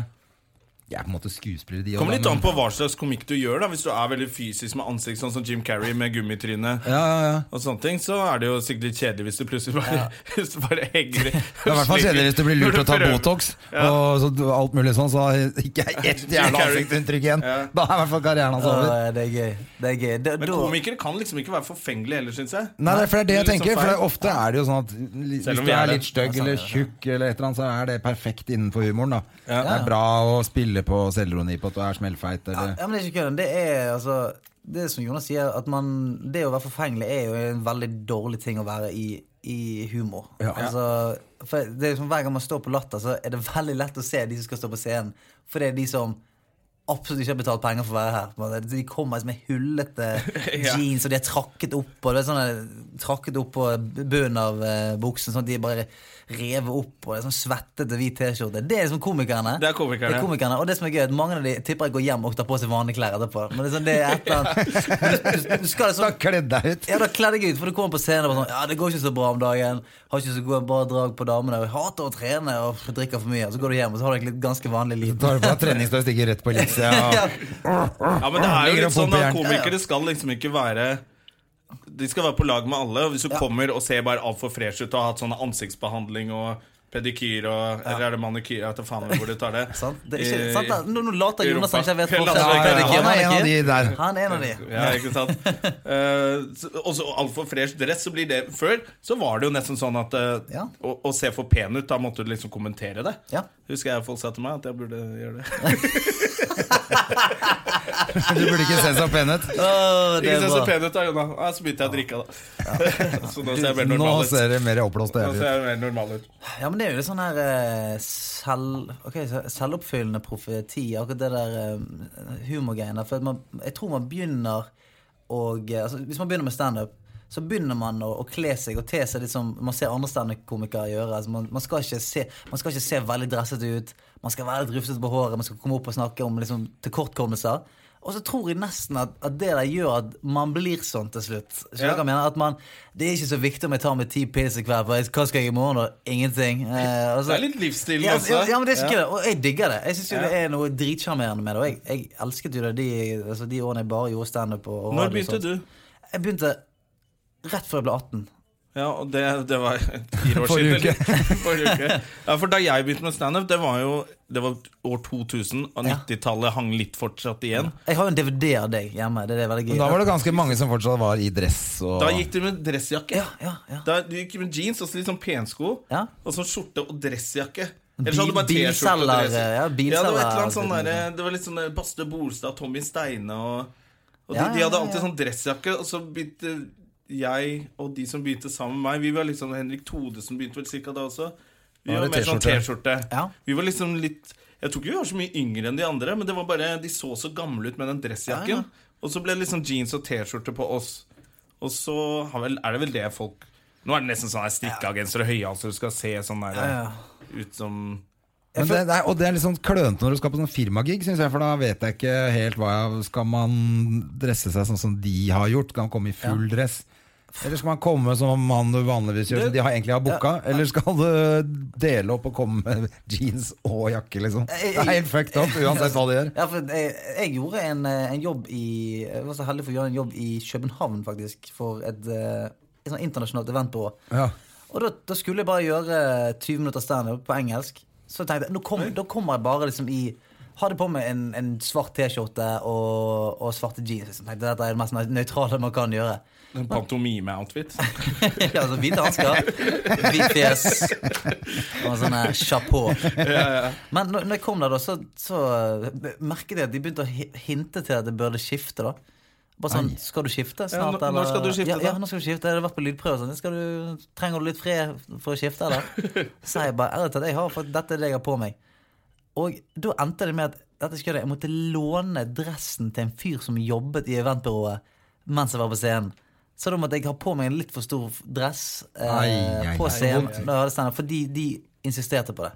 B: Jeg er på en måte skuespillere, de også,
A: Kommer
B: da,
A: litt an
B: men-
A: på hva slags komikk du gjør. da Hvis du er veldig fysisk med ansikt, sånn som Jim Carrey med gummitryne,
B: Ja, ja, ja.
A: og sånne ting så er det jo sikkert litt kjedelig hvis du plutselig bare, hvis du bare henger
B: Det er i hvert fall kjedelig hvis du blir lurt til å
A: Når
B: ta
A: du prøver-
B: Botox og så, du- alt mulig sånn, så har ikke jeg ett jævla
A: Carrey.
B: ansiktsuttrykk igjen.
A: Ja.
B: Da er i hvert fall karrieren hans over.
C: Åh, det er gøy. Det er gøy. Det,
A: Men
C: da-
A: komikere kan liksom ikke være forfengelige heller, syns jeg.
B: Nei, det er- for det er det jeg
A: Det er liksom
B: tenker. For det, er
A: feil.
B: ofte er det jo sånn at li-
A: Selv
B: hvis
A: om
B: du
A: vi er
B: er
A: det. Altså,
B: litt stygg
C: Ja,
B: eller
C: sant, ja,
B: tjukk, eller et eller annet, så er det perfekt innenfor humoren. da
A: Ja.
B: Det er bra å spille på selvroni på at du er smellfeit.
C: Ja,
B: Eller.
C: ja, men det er ikke kødden. Det er altså Det er som Jonas sier, at man Det å være forfengelig er jo en veldig dårlig ting å være i, i humor.
B: Ja.
C: Altså, for det er liksom, Hver gang man står på Latter, så er det veldig lett å se de som skal stå på scenen. For det er de som absolutt ikke har betalt penger for å være her. på en måte. De kommer liksom med hullete
A: Ja.
C: jeans, og de er trakket opp og det er sånne, trakket opp på bunnen av eh, buksen. Sånn at de er bare revet opp, og det er sånn svettete hvit T-skjorte. Det er liksom komikerne.
A: Det er komikerne.
C: Det er komikerne. Og det som er gøy, er at mange av de tipper jeg går hjem og tar på seg vanlige klær etterpå. Men det er sånn, det er et eller annet Du- du- du
B: Da
C: skal liksom
B: kledd deg ut.
C: ja, da kler deg ut, for du kommer på scenen og bare sånn Ja, det går ikke så bra om dagen. Har ikke så god bra drag på damene. Jeg hater å trene og drikker for mye. Og så går du hjem, og så har du egentlig et ganske vanlig liv.
B: Tar på deg treningstøy og stikker rett på Elixia.
C: Ja.
A: Ja, men det er jo
B: Ligger og
A: litt sånn
B: pumper
A: at
B: jern.
A: komikere skal liksom ikke være De skal være på lag med alle. Og hvis du kommer og ser bare altfor fresh ut og har hatt sånn ansiktsbehandling og pedikyr og Eller er det manikyr? Jeg vet da faen hvor du tar det. Eh,
C: Sant? Det er ikke,
A: I-
C: sant? da? Nå, nå later
A: i
C: Jonas
A: rumpa.
C: han ikke vet
A: Jeg
C: forskjell.
A: later ikke.
C: Det er
B: Han er en av de der.
C: ikke- han ikke- Han er en av de.
A: Ja, ikke sant? Eh, og så altfor fresh dress, så blir det Før så var det jo nesten sånn at eh,
C: Ja.
A: å, å se for pen ut, da måtte du liksom kommentere det.
C: Ja.
A: Husker jeg folk sa til meg at jeg burde gjøre det.
B: Du burde ikke se så pen ut.
C: Åh, det
A: Ikke
C: er
A: se så
C: bra.
A: pen ut da, Jonna. Ja, så begynte jeg å drikke, da. så nå ser jeg mer
B: Nå
A: normal ut.
B: ser det mer oppblåst og
A: Nå
B: jævlig
A: ser
B: ut.
A: jeg mer normal ut.
C: Ja, men det er jo litt sånn her eh, selv, ok, så selvoppfyllende profeti, akkurat det der eh, humorgreiene. For at man, jeg tror man begynner å eh, altså, Hvis man begynner med standup, så begynner man å, å kle seg og te seg litt som man ser andre standup-komikere gjøre. Altså, man, man, skal ikke se, man skal ikke se veldig dresset ut, man skal være litt rufsete på håret, man skal komme opp og snakke om liksom, tilkortkommelser. Og så tror jeg nesten at, at det der gjør at man blir sånn til slutt. Skjønner du
A: Ja.
C: hva jeg mener? At man, det er ikke så viktig om jeg tar meg ti pils i kveld, for jeg, hva skal jeg i morgen? da? Ingenting. Eh, altså-
A: Det er litt livsstilen
C: ja,
A: også.
C: Ja, ja, men det er ikke det. Og jeg digger det. Jeg syns
A: Ja.
C: jo det er noe dritsjarmerende med det. Og jeg, jeg elsket jo det de, altså, de årene jeg bare gjorde standup. og- og radio
A: Når
C: og
A: begynte
C: sånt.
A: du?
C: Jeg begynte rett før jeg ble 18.
A: Ja, og det, det var fire år
B: Forrige
A: siden. Forrige uke. Ja, for da jeg begynte med standup, det var jo det var år 2000, og 90-tallet hang litt fortsatt igjen.
C: Jeg har jo en DVD av deg hjemme. Det er det veldig gøy.
B: Men da var det ganske mange som fortsatt var i dress. Og...
A: Da gikk du med dressjakke.
C: Ja, ja, ja.
A: Da du gikk med jeans og så litt sånn pensko,
C: Ja.
A: og så skjorte og dressjakke.
C: Bil- bilselger,
A: Ja,
C: ja, bilselger.
A: det var et eller annet sånn der, Det var litt sånn der Baste Bolstad, Tommy Steine og, og de,
C: Ja, ja,
A: de hadde
C: ja,
A: alltid sånn dressjakke, og så begynte jeg og de som begynte sammen med meg Vi var liksom Henrik Thodesen begynte vel cirka da også. Vi
B: Da var
A: var
B: det
A: mer sånn T-skjorte.
C: Ja.
A: Vi var liksom litt Jeg tror ikke vi var så mye yngre enn de andre, men det var bare de så så gamle ut med den dressjakken.
C: Ja, ja.
A: Og så ble det liksom jeans og T-skjorte på oss. Og så har vel, er det vel det folk Nå er det nesten sånn her strikka genser og høyhalser, du skal se sånn der
C: Ja,
A: ut som
B: Men det, det er, og det er litt sånn klønete når du skal på sånn firmagig, syns jeg. For da vet jeg ikke helt hva jeg Skal man dresse seg sånn som de har gjort? Skal man komme i full dress? Eller skal man komme som han du vanligvis gjør, som de har egentlig har booka? Eller skal du dele opp og komme med jeans og jakke, liksom? Det er helt fucked up, uansett hva du gjør.
C: Ja, for jeg, jeg gjorde en, eh, en jobb i Jeg var så heldig for å gjøre en jobb i København, faktisk, for et, eh, et sånn internasjonalt eventbyrå.
B: Ja.
C: Og da, da skulle jeg bare gjøre eh, 20 minutter standup på engelsk. Så tenkte jeg, nå kom, da kommer jeg bare liksom i Hadde på meg en, en svart T-skjorte og, og svarte jeans. Liksom. Tenkte, Dette er det mest nøytrale man kan gjøre.
A: en pantomime-outfit.
C: ja, altså Hvite hansker, hvit fjes og en sånn her chapeau. Men når, når jeg kom der, da, så, så eh, merket jeg at de begynte å hi- hinte til at jeg burde skifte. da Bare sånn, Skal du skifte
A: Ja,
C: snart?
A: nå- når skal du skifte,
C: ja,
A: da?
C: ja, nå skal du skifte. Jeg har vært på lydprøve. og Sånn. Skal du, trenger du litt fred for å skifte, eller? Så sa jeg bare ærlig talt, jeg har fått dette er det jeg har på meg. Og da endte det med at dette skulle jeg, jeg måtte låne dressen til en fyr som jobbet i eventbyrået mens jeg var på scenen. Så da måtte jeg ha på meg en litt for stor dress eh,
B: Ai, ai,
C: på
B: ai,
C: sånn scenen. når jeg hadde standup, fordi de insisterte på det.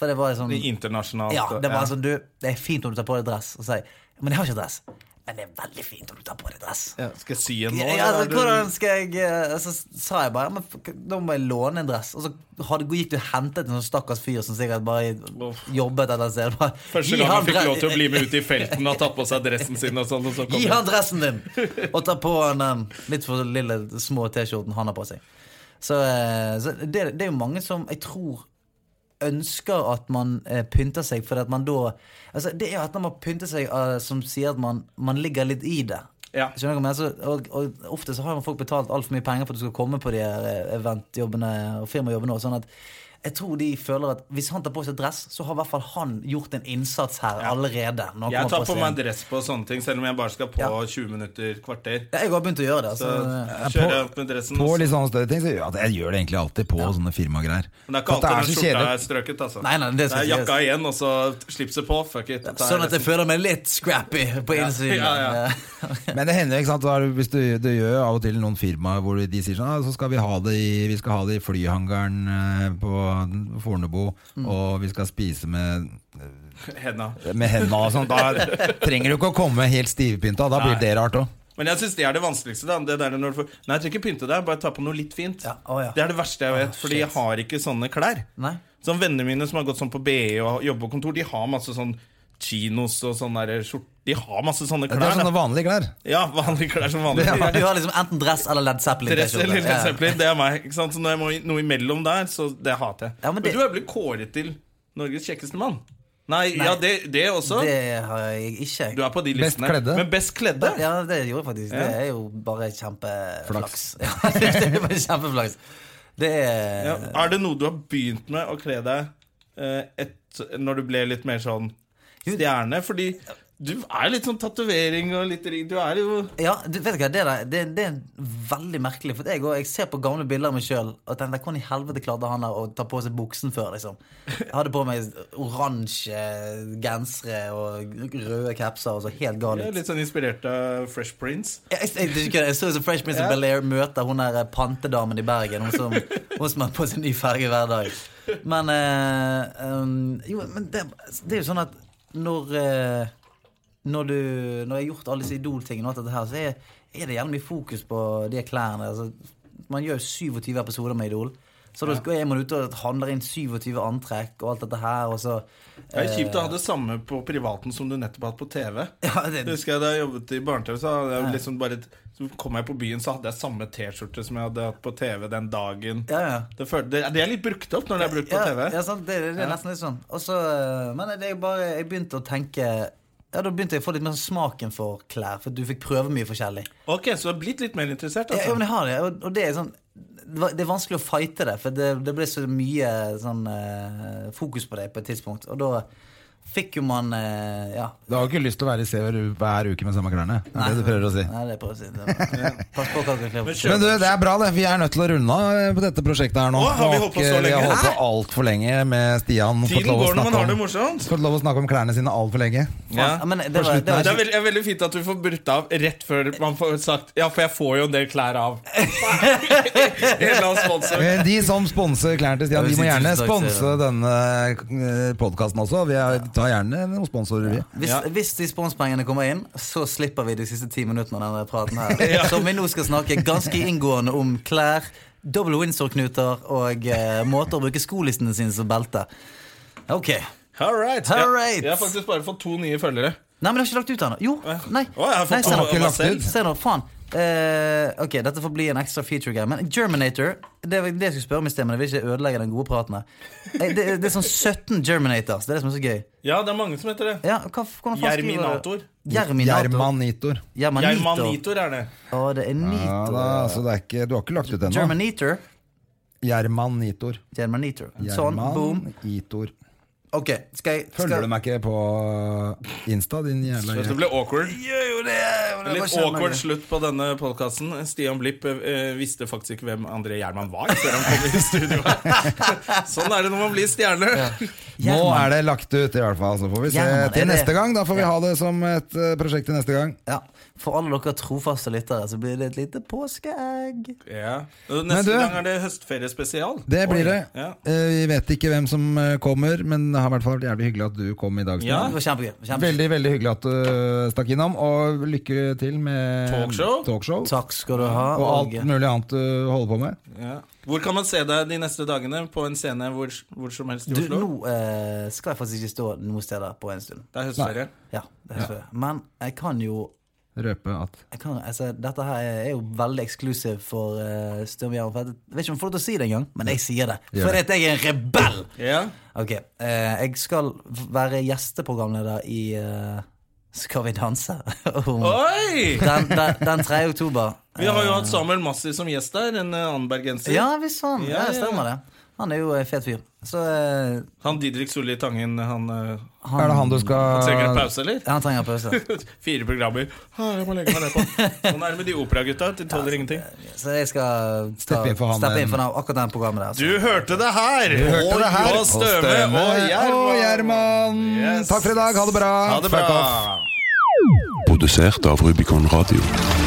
C: For det var liksom
A: I internasjonalt eh,
C: Ja, det
A: ja.
C: var sånn, du, det er fint om du tar på deg dress. Og så sier jeg, men jeg har ikke dress. Men det er veldig fint om du tar på deg dress.
A: Ja, Skal jeg sy en nå?
C: Ja, ja,
A: eller
C: altså,
A: er det-
C: hvordan skal jeg eh, Så sa jeg bare men fuck, Da må jeg låne en dress. Og så hadde, gikk du og hentet en sånn stakkars fyr som sikkert bare
A: Uff.
C: jobbet et eller annet sted. Bare,
A: Første
C: gi
A: gang
C: han
A: han fikk
C: dre-
A: lov til å bli med ut i felten og ha tatt på seg dressen sin. og sånn, og så kom
C: Gi
A: det-
C: han dressen din! Og ta på han den litt for lille, små T-skjorten han har på seg. Så, eh, så det, det er jo mange som jeg tror ønsker at man eh, pynter seg, fordi at man da Altså, det er jo et eller annet med å pynte seg eh, som sier at man, man ligger litt i det.
A: Ja.
C: Skjønner du hva jeg mener? Så, og, og ofte så har jo folk betalt altfor mye penger for at du skal komme på de her eh, eventjobbene og firmajobbene òg, sånn at jeg tror de føler at hvis han tar på seg dress, så har i hvert fall han gjort en innsats her allerede. når han
A: Jeg
C: kommer
A: tar på
C: scenen.
A: meg dress på sånne ting, selv om jeg bare skal på
C: Ja.
A: 20 minutter, kvarter.
C: Ja, Jeg har begynt å gjøre det.
A: Så
C: Altså.
A: kjører jeg opp med dressen. altså.
B: På
A: og
B: litt sånne større ting. Så ja, jeg gjør det egentlig alltid på sånne firmagreier.
A: Men det er ikke
B: For at
A: alltid den
B: så
A: skjorta
B: kjedelig.
A: er strøket. altså
C: Nei, nei, det skal
A: er jakka
C: sies.
A: igjen, og så slipset på. Fuck it. dette er
C: Sånn at jeg
A: resten.
C: føler meg litt scrappy på innsiden.
A: Ja, ja.
B: Men det hender, ikke sant, da er det- hvis du, du gjør av og til noen firmaer hvor de sier sånn ah, så skal vi ha det i, vi skal ha det i flyhangaren eh, på Fornebu, og vi skal spise med,
A: Hedna.
B: med hendene og sånn. Da trenger du ikke å komme helt stivpynta. Da blir
A: Nei.
B: det rart òg.
A: Men jeg syns det er det vanskeligste. Da. Det der når du får, nei, jeg trenger ikke pynte deg, bare ta på noe litt fint.
C: Ja, å ja.
A: Det er det verste jeg vet, fordi jeg
C: shit.
A: har ikke sånne klær.
C: Nei.
A: Sånn Vennene mine som har gått sånn på BI og jobber på kontor, de har masse sånn chinos og sånne der skjort... De har masse sånne
B: Det er
A: klær.
C: sånn-
B: sånne
A: Da.
B: vanlige klær.
A: Ja, vanlige klær som vanlig.
C: Du, du har liksom enten dress eller Led Zeppelin.
A: Dress
C: T-skjorte.
A: eller
C: sånn- Ja.
A: Led Zeppelin, det er meg. Ikke sant? Så når jeg må i- noe imellom der, så det hater jeg.
C: Ja, men
A: men,
C: det-
A: du er blitt kåret til Norges kjekkeste mann. Nei,
C: Nei.
A: ja, det, det også.
C: Det har jeg ikke.
A: Du er på de
B: Best
A: listene.
B: kledde.
A: Men best kledde?
C: Ja, det gjorde jeg faktisk.
A: Ja.
C: Det er jo bare kjempeflaks. Ja, det er bare kjempeflaks. Det er
A: Ja. Er det noe du har begynt med å kle deg eh, et, når du ble litt mer sånn stjerne? Fordi du er litt sånn tatovering og litt ring. Du er jo
C: Ja, du vet ikke hva, det, der, det, det er veldig merkelig. For jeg, går- jeg ser på gamle bilder av meg sjøl og tenker hvordan i helvete klarte han der å ta på seg buksen før? liksom Jeg hadde på meg oransje gensere og røde capser og så helt gal
A: jeg er
C: ut.
A: litt sånn inspirert av Fresh Prince.
C: Jeg, jeg, jeg, jeg, jeg så jo som Fresh Prince of Bel-Air møter hun der eh, pantedamen i Bergen. Hun som, hun som har på seg ny ferge hver dag. Men eh, em, Jo, men det, det er jo sånn at når eh, når, du, når jeg har gjort alle disse Idol-tingene, og alt dette her, så er, er det gjerne mye fokus på de klærne. Altså, man gjør jo 27 episoder med Idol. Så da skal- er man ute og handler inn 27 antrekk og alt dette her, og så eh,
A: Det er kjipt å ha det samme på privaten som du nettopp har hatt på TV.
C: ja, det,
A: Jeg husker jeg Da jeg jobbet i barne-TV, så, hadde jeg liksom bare- så kom jeg på byen, så hadde jeg samme T-skjorte som jeg hadde hatt på TV den dagen.
C: ja, ja.
A: Det, følte, det, det er litt brukt opp når det er brukt på
C: ja,
A: TV.
C: Ja, sant, det, det er nesten litt sånn. Og så, eh, men det er bare, jeg begynte å tenke Ja, Da begynte jeg å få litt mer smaken for klær, for du fikk prøve mye forskjellig.
A: Ok, Så du har blitt litt mer interessert?
C: Ja, ja,
A: Altså.
C: men jeg har det, og, og det er sånn det var- det er vanskelig å fighte det, for det, det ble så mye sånn eh, fokus på det på et tidspunkt. Og da fikk jo man eh, Ja.
B: Du har jo ikke lyst til å være i CV hver uke med samme klærne. Det er det du prøver å si.
C: Nei, det prøver jeg å si. Det var- Pass på hva du kler på.
A: kjøp-
B: Men du, det er bra, det. Vi er nødt til å runde av eh, på dette prosjektet her nå.
A: Å, har vi holdt på så
B: Nok, eh, vi har
A: lenge?
B: holdt på altfor lenge med Stian. Fått
A: Tiden
B: lov å
A: går når man
B: snakke
A: har det
B: om-
A: morsomt.
B: Fått lov å snakke om klærne sine altfor lenge.
C: Ja, men det var,
B: slutten
A: Nei,
C: det var
A: Det er veldig, er veldig fint at du får brutt av rett før man får sagt Ja, for jeg får jo en del klær av. En eller annen sponsor.
B: Eh, De som sponser klærne til Stian,
C: Jeg
B: de
C: vil
B: må
C: si
B: gjerne
C: tusen takk,
B: sponse
C: Stian.
B: denne podkasten også. Vi er- tar gjerne noen sponsorer, vi.
C: Hvis,
A: Ja.
C: hvis de sponspengene kommer inn, så slipper vi de siste ti minuttene av denne praten her. Som vi nå skal snakke ganske inngående om klær, double Windsor-knuter og eh, måter å bruke skolissene sine som belte. Ok. Nei,
A: All right.
C: All
A: Jeg,
C: right.
A: jeg har faktisk bare fått to nye følgere.
C: men jeg har ikke lagt ut ennå. Jo. Nei.
A: Å, jeg har fått
C: nei se,
A: to
B: har ikke
A: av
C: nå.
A: meg
B: lagt
A: selv.
B: ut.
C: se nå. Faen. Eh, ok, dette får bli en ekstra feature game. Men Germinator Det var det jeg skulle spørre om i sted, men jeg vil ikke ødelegge den gode praten her. Eh, Det, det er sånn 17 Germinators. Det er det som er så gøy.
A: Ja, det er mange som heter det.
C: Ja, hva, hvordan faen skriver du det?
A: Germinator.
C: Germinator.
B: Germanitor.
C: Germanitor.
A: Germanitor er det.
C: Å, det er
B: Ja,
C: Nito.
B: da, så det er ikke, du har ikke lagt ut ennå.
C: Germanitor.
B: Germanitor.
C: Germanitor. Sånn, boom.
B: Germanitor.
C: Ok, skal jeg
B: Følger
C: skal...
B: du meg ikke på Insta, din jævla
A: Så det ble awkward.
C: Gjør jo det! og det er
A: Litt
C: bare kjenner
A: awkward
C: det.
A: slutt på denne podkasten. Stian Blipp eh, visste faktisk ikke hvem André Gjerman var før han kom i studio. sånn er det når man blir stjerne.
B: Nå
C: Gjerman.
B: er det lagt ut, i hvert fall. Så får vi se
C: Gjerman, er
B: til
C: det-
B: neste gang. Da får vi ha det som et eh, prosjekt til neste gang.
C: Ja. For alle dere trofaste lyttere så blir det et lite påskeegg.
A: Ja. Og
B: Men
A: Neste
B: du-
A: gang er det høstferiespesial.
B: Det blir det.
A: Ja.
B: Eh, Vi vet ikke hvem som eh, kommer, men det har i hvert fall vært jævlig hyggelig at du kom i dag. Stian.
A: Ja.
C: Det var kjempegøy. kjempegøy.
B: Veldig veldig hyggelig at du stakk innom, og lykke til med
A: Talkshow.
B: talkshow
C: Takk skal du ha.
B: og alt
C: og-
B: mulig annet du holder på med.
A: Ja. Hvor kan man se deg de neste dagene? På en scene hvor, hvor som helst i
C: Du,
A: Oslo?
C: nå eh, skal jeg faktisk ikke stå noen steder på en stund.
A: Det er høstferie.
C: Ja, det er så- Men jeg kan jo
B: Røpe at
C: jeg kan, altså, Dette her er- er jo veldig eksklusivt for uh, Sturm Jæren. Jeg vet ikke om jeg får lov til å si det engang, men jeg sier det.
B: Gjør
C: Fordi at jeg er en rebell!
A: Ja.
C: Ok, eh, Jeg skal være gjesteprogramleder i eh, Skal vi danse? Om-
A: Oi!
C: den, den, den 3. oktober. Eh,
A: Vi har jo hatt Samuel Massi som gjest der. En eh, annen bergenser.
C: Ja visst, han.
A: Ja, ja, ja.
C: Ja, stemmer det. Han er jo en fet fyr. Så eh,
A: Han Didrik Solli Tangen, han eh,
C: han,
B: Er det han du
A: trenger en
B: skal
A: pause, eller?
C: han trenger pause.
A: Fire programmer. Ah, jeg må legge meg nedpå. Sånn er det med de operagutta. De tåler ingenting.
C: Så jeg skal ta,
B: Steppe inn for han,
C: steppe
B: den-
C: inn for den, akkurat den programmet der.
A: Du hørte det her!
B: Du hørte det her.
A: Og Støme og
B: og
A: Gjerman.
B: Gjerman.
A: Yes.
B: Takk for i dag. Ha det bra.
A: Ha det
B: Fuck off.
A: bra.
D: produsert av Rubicon Radio.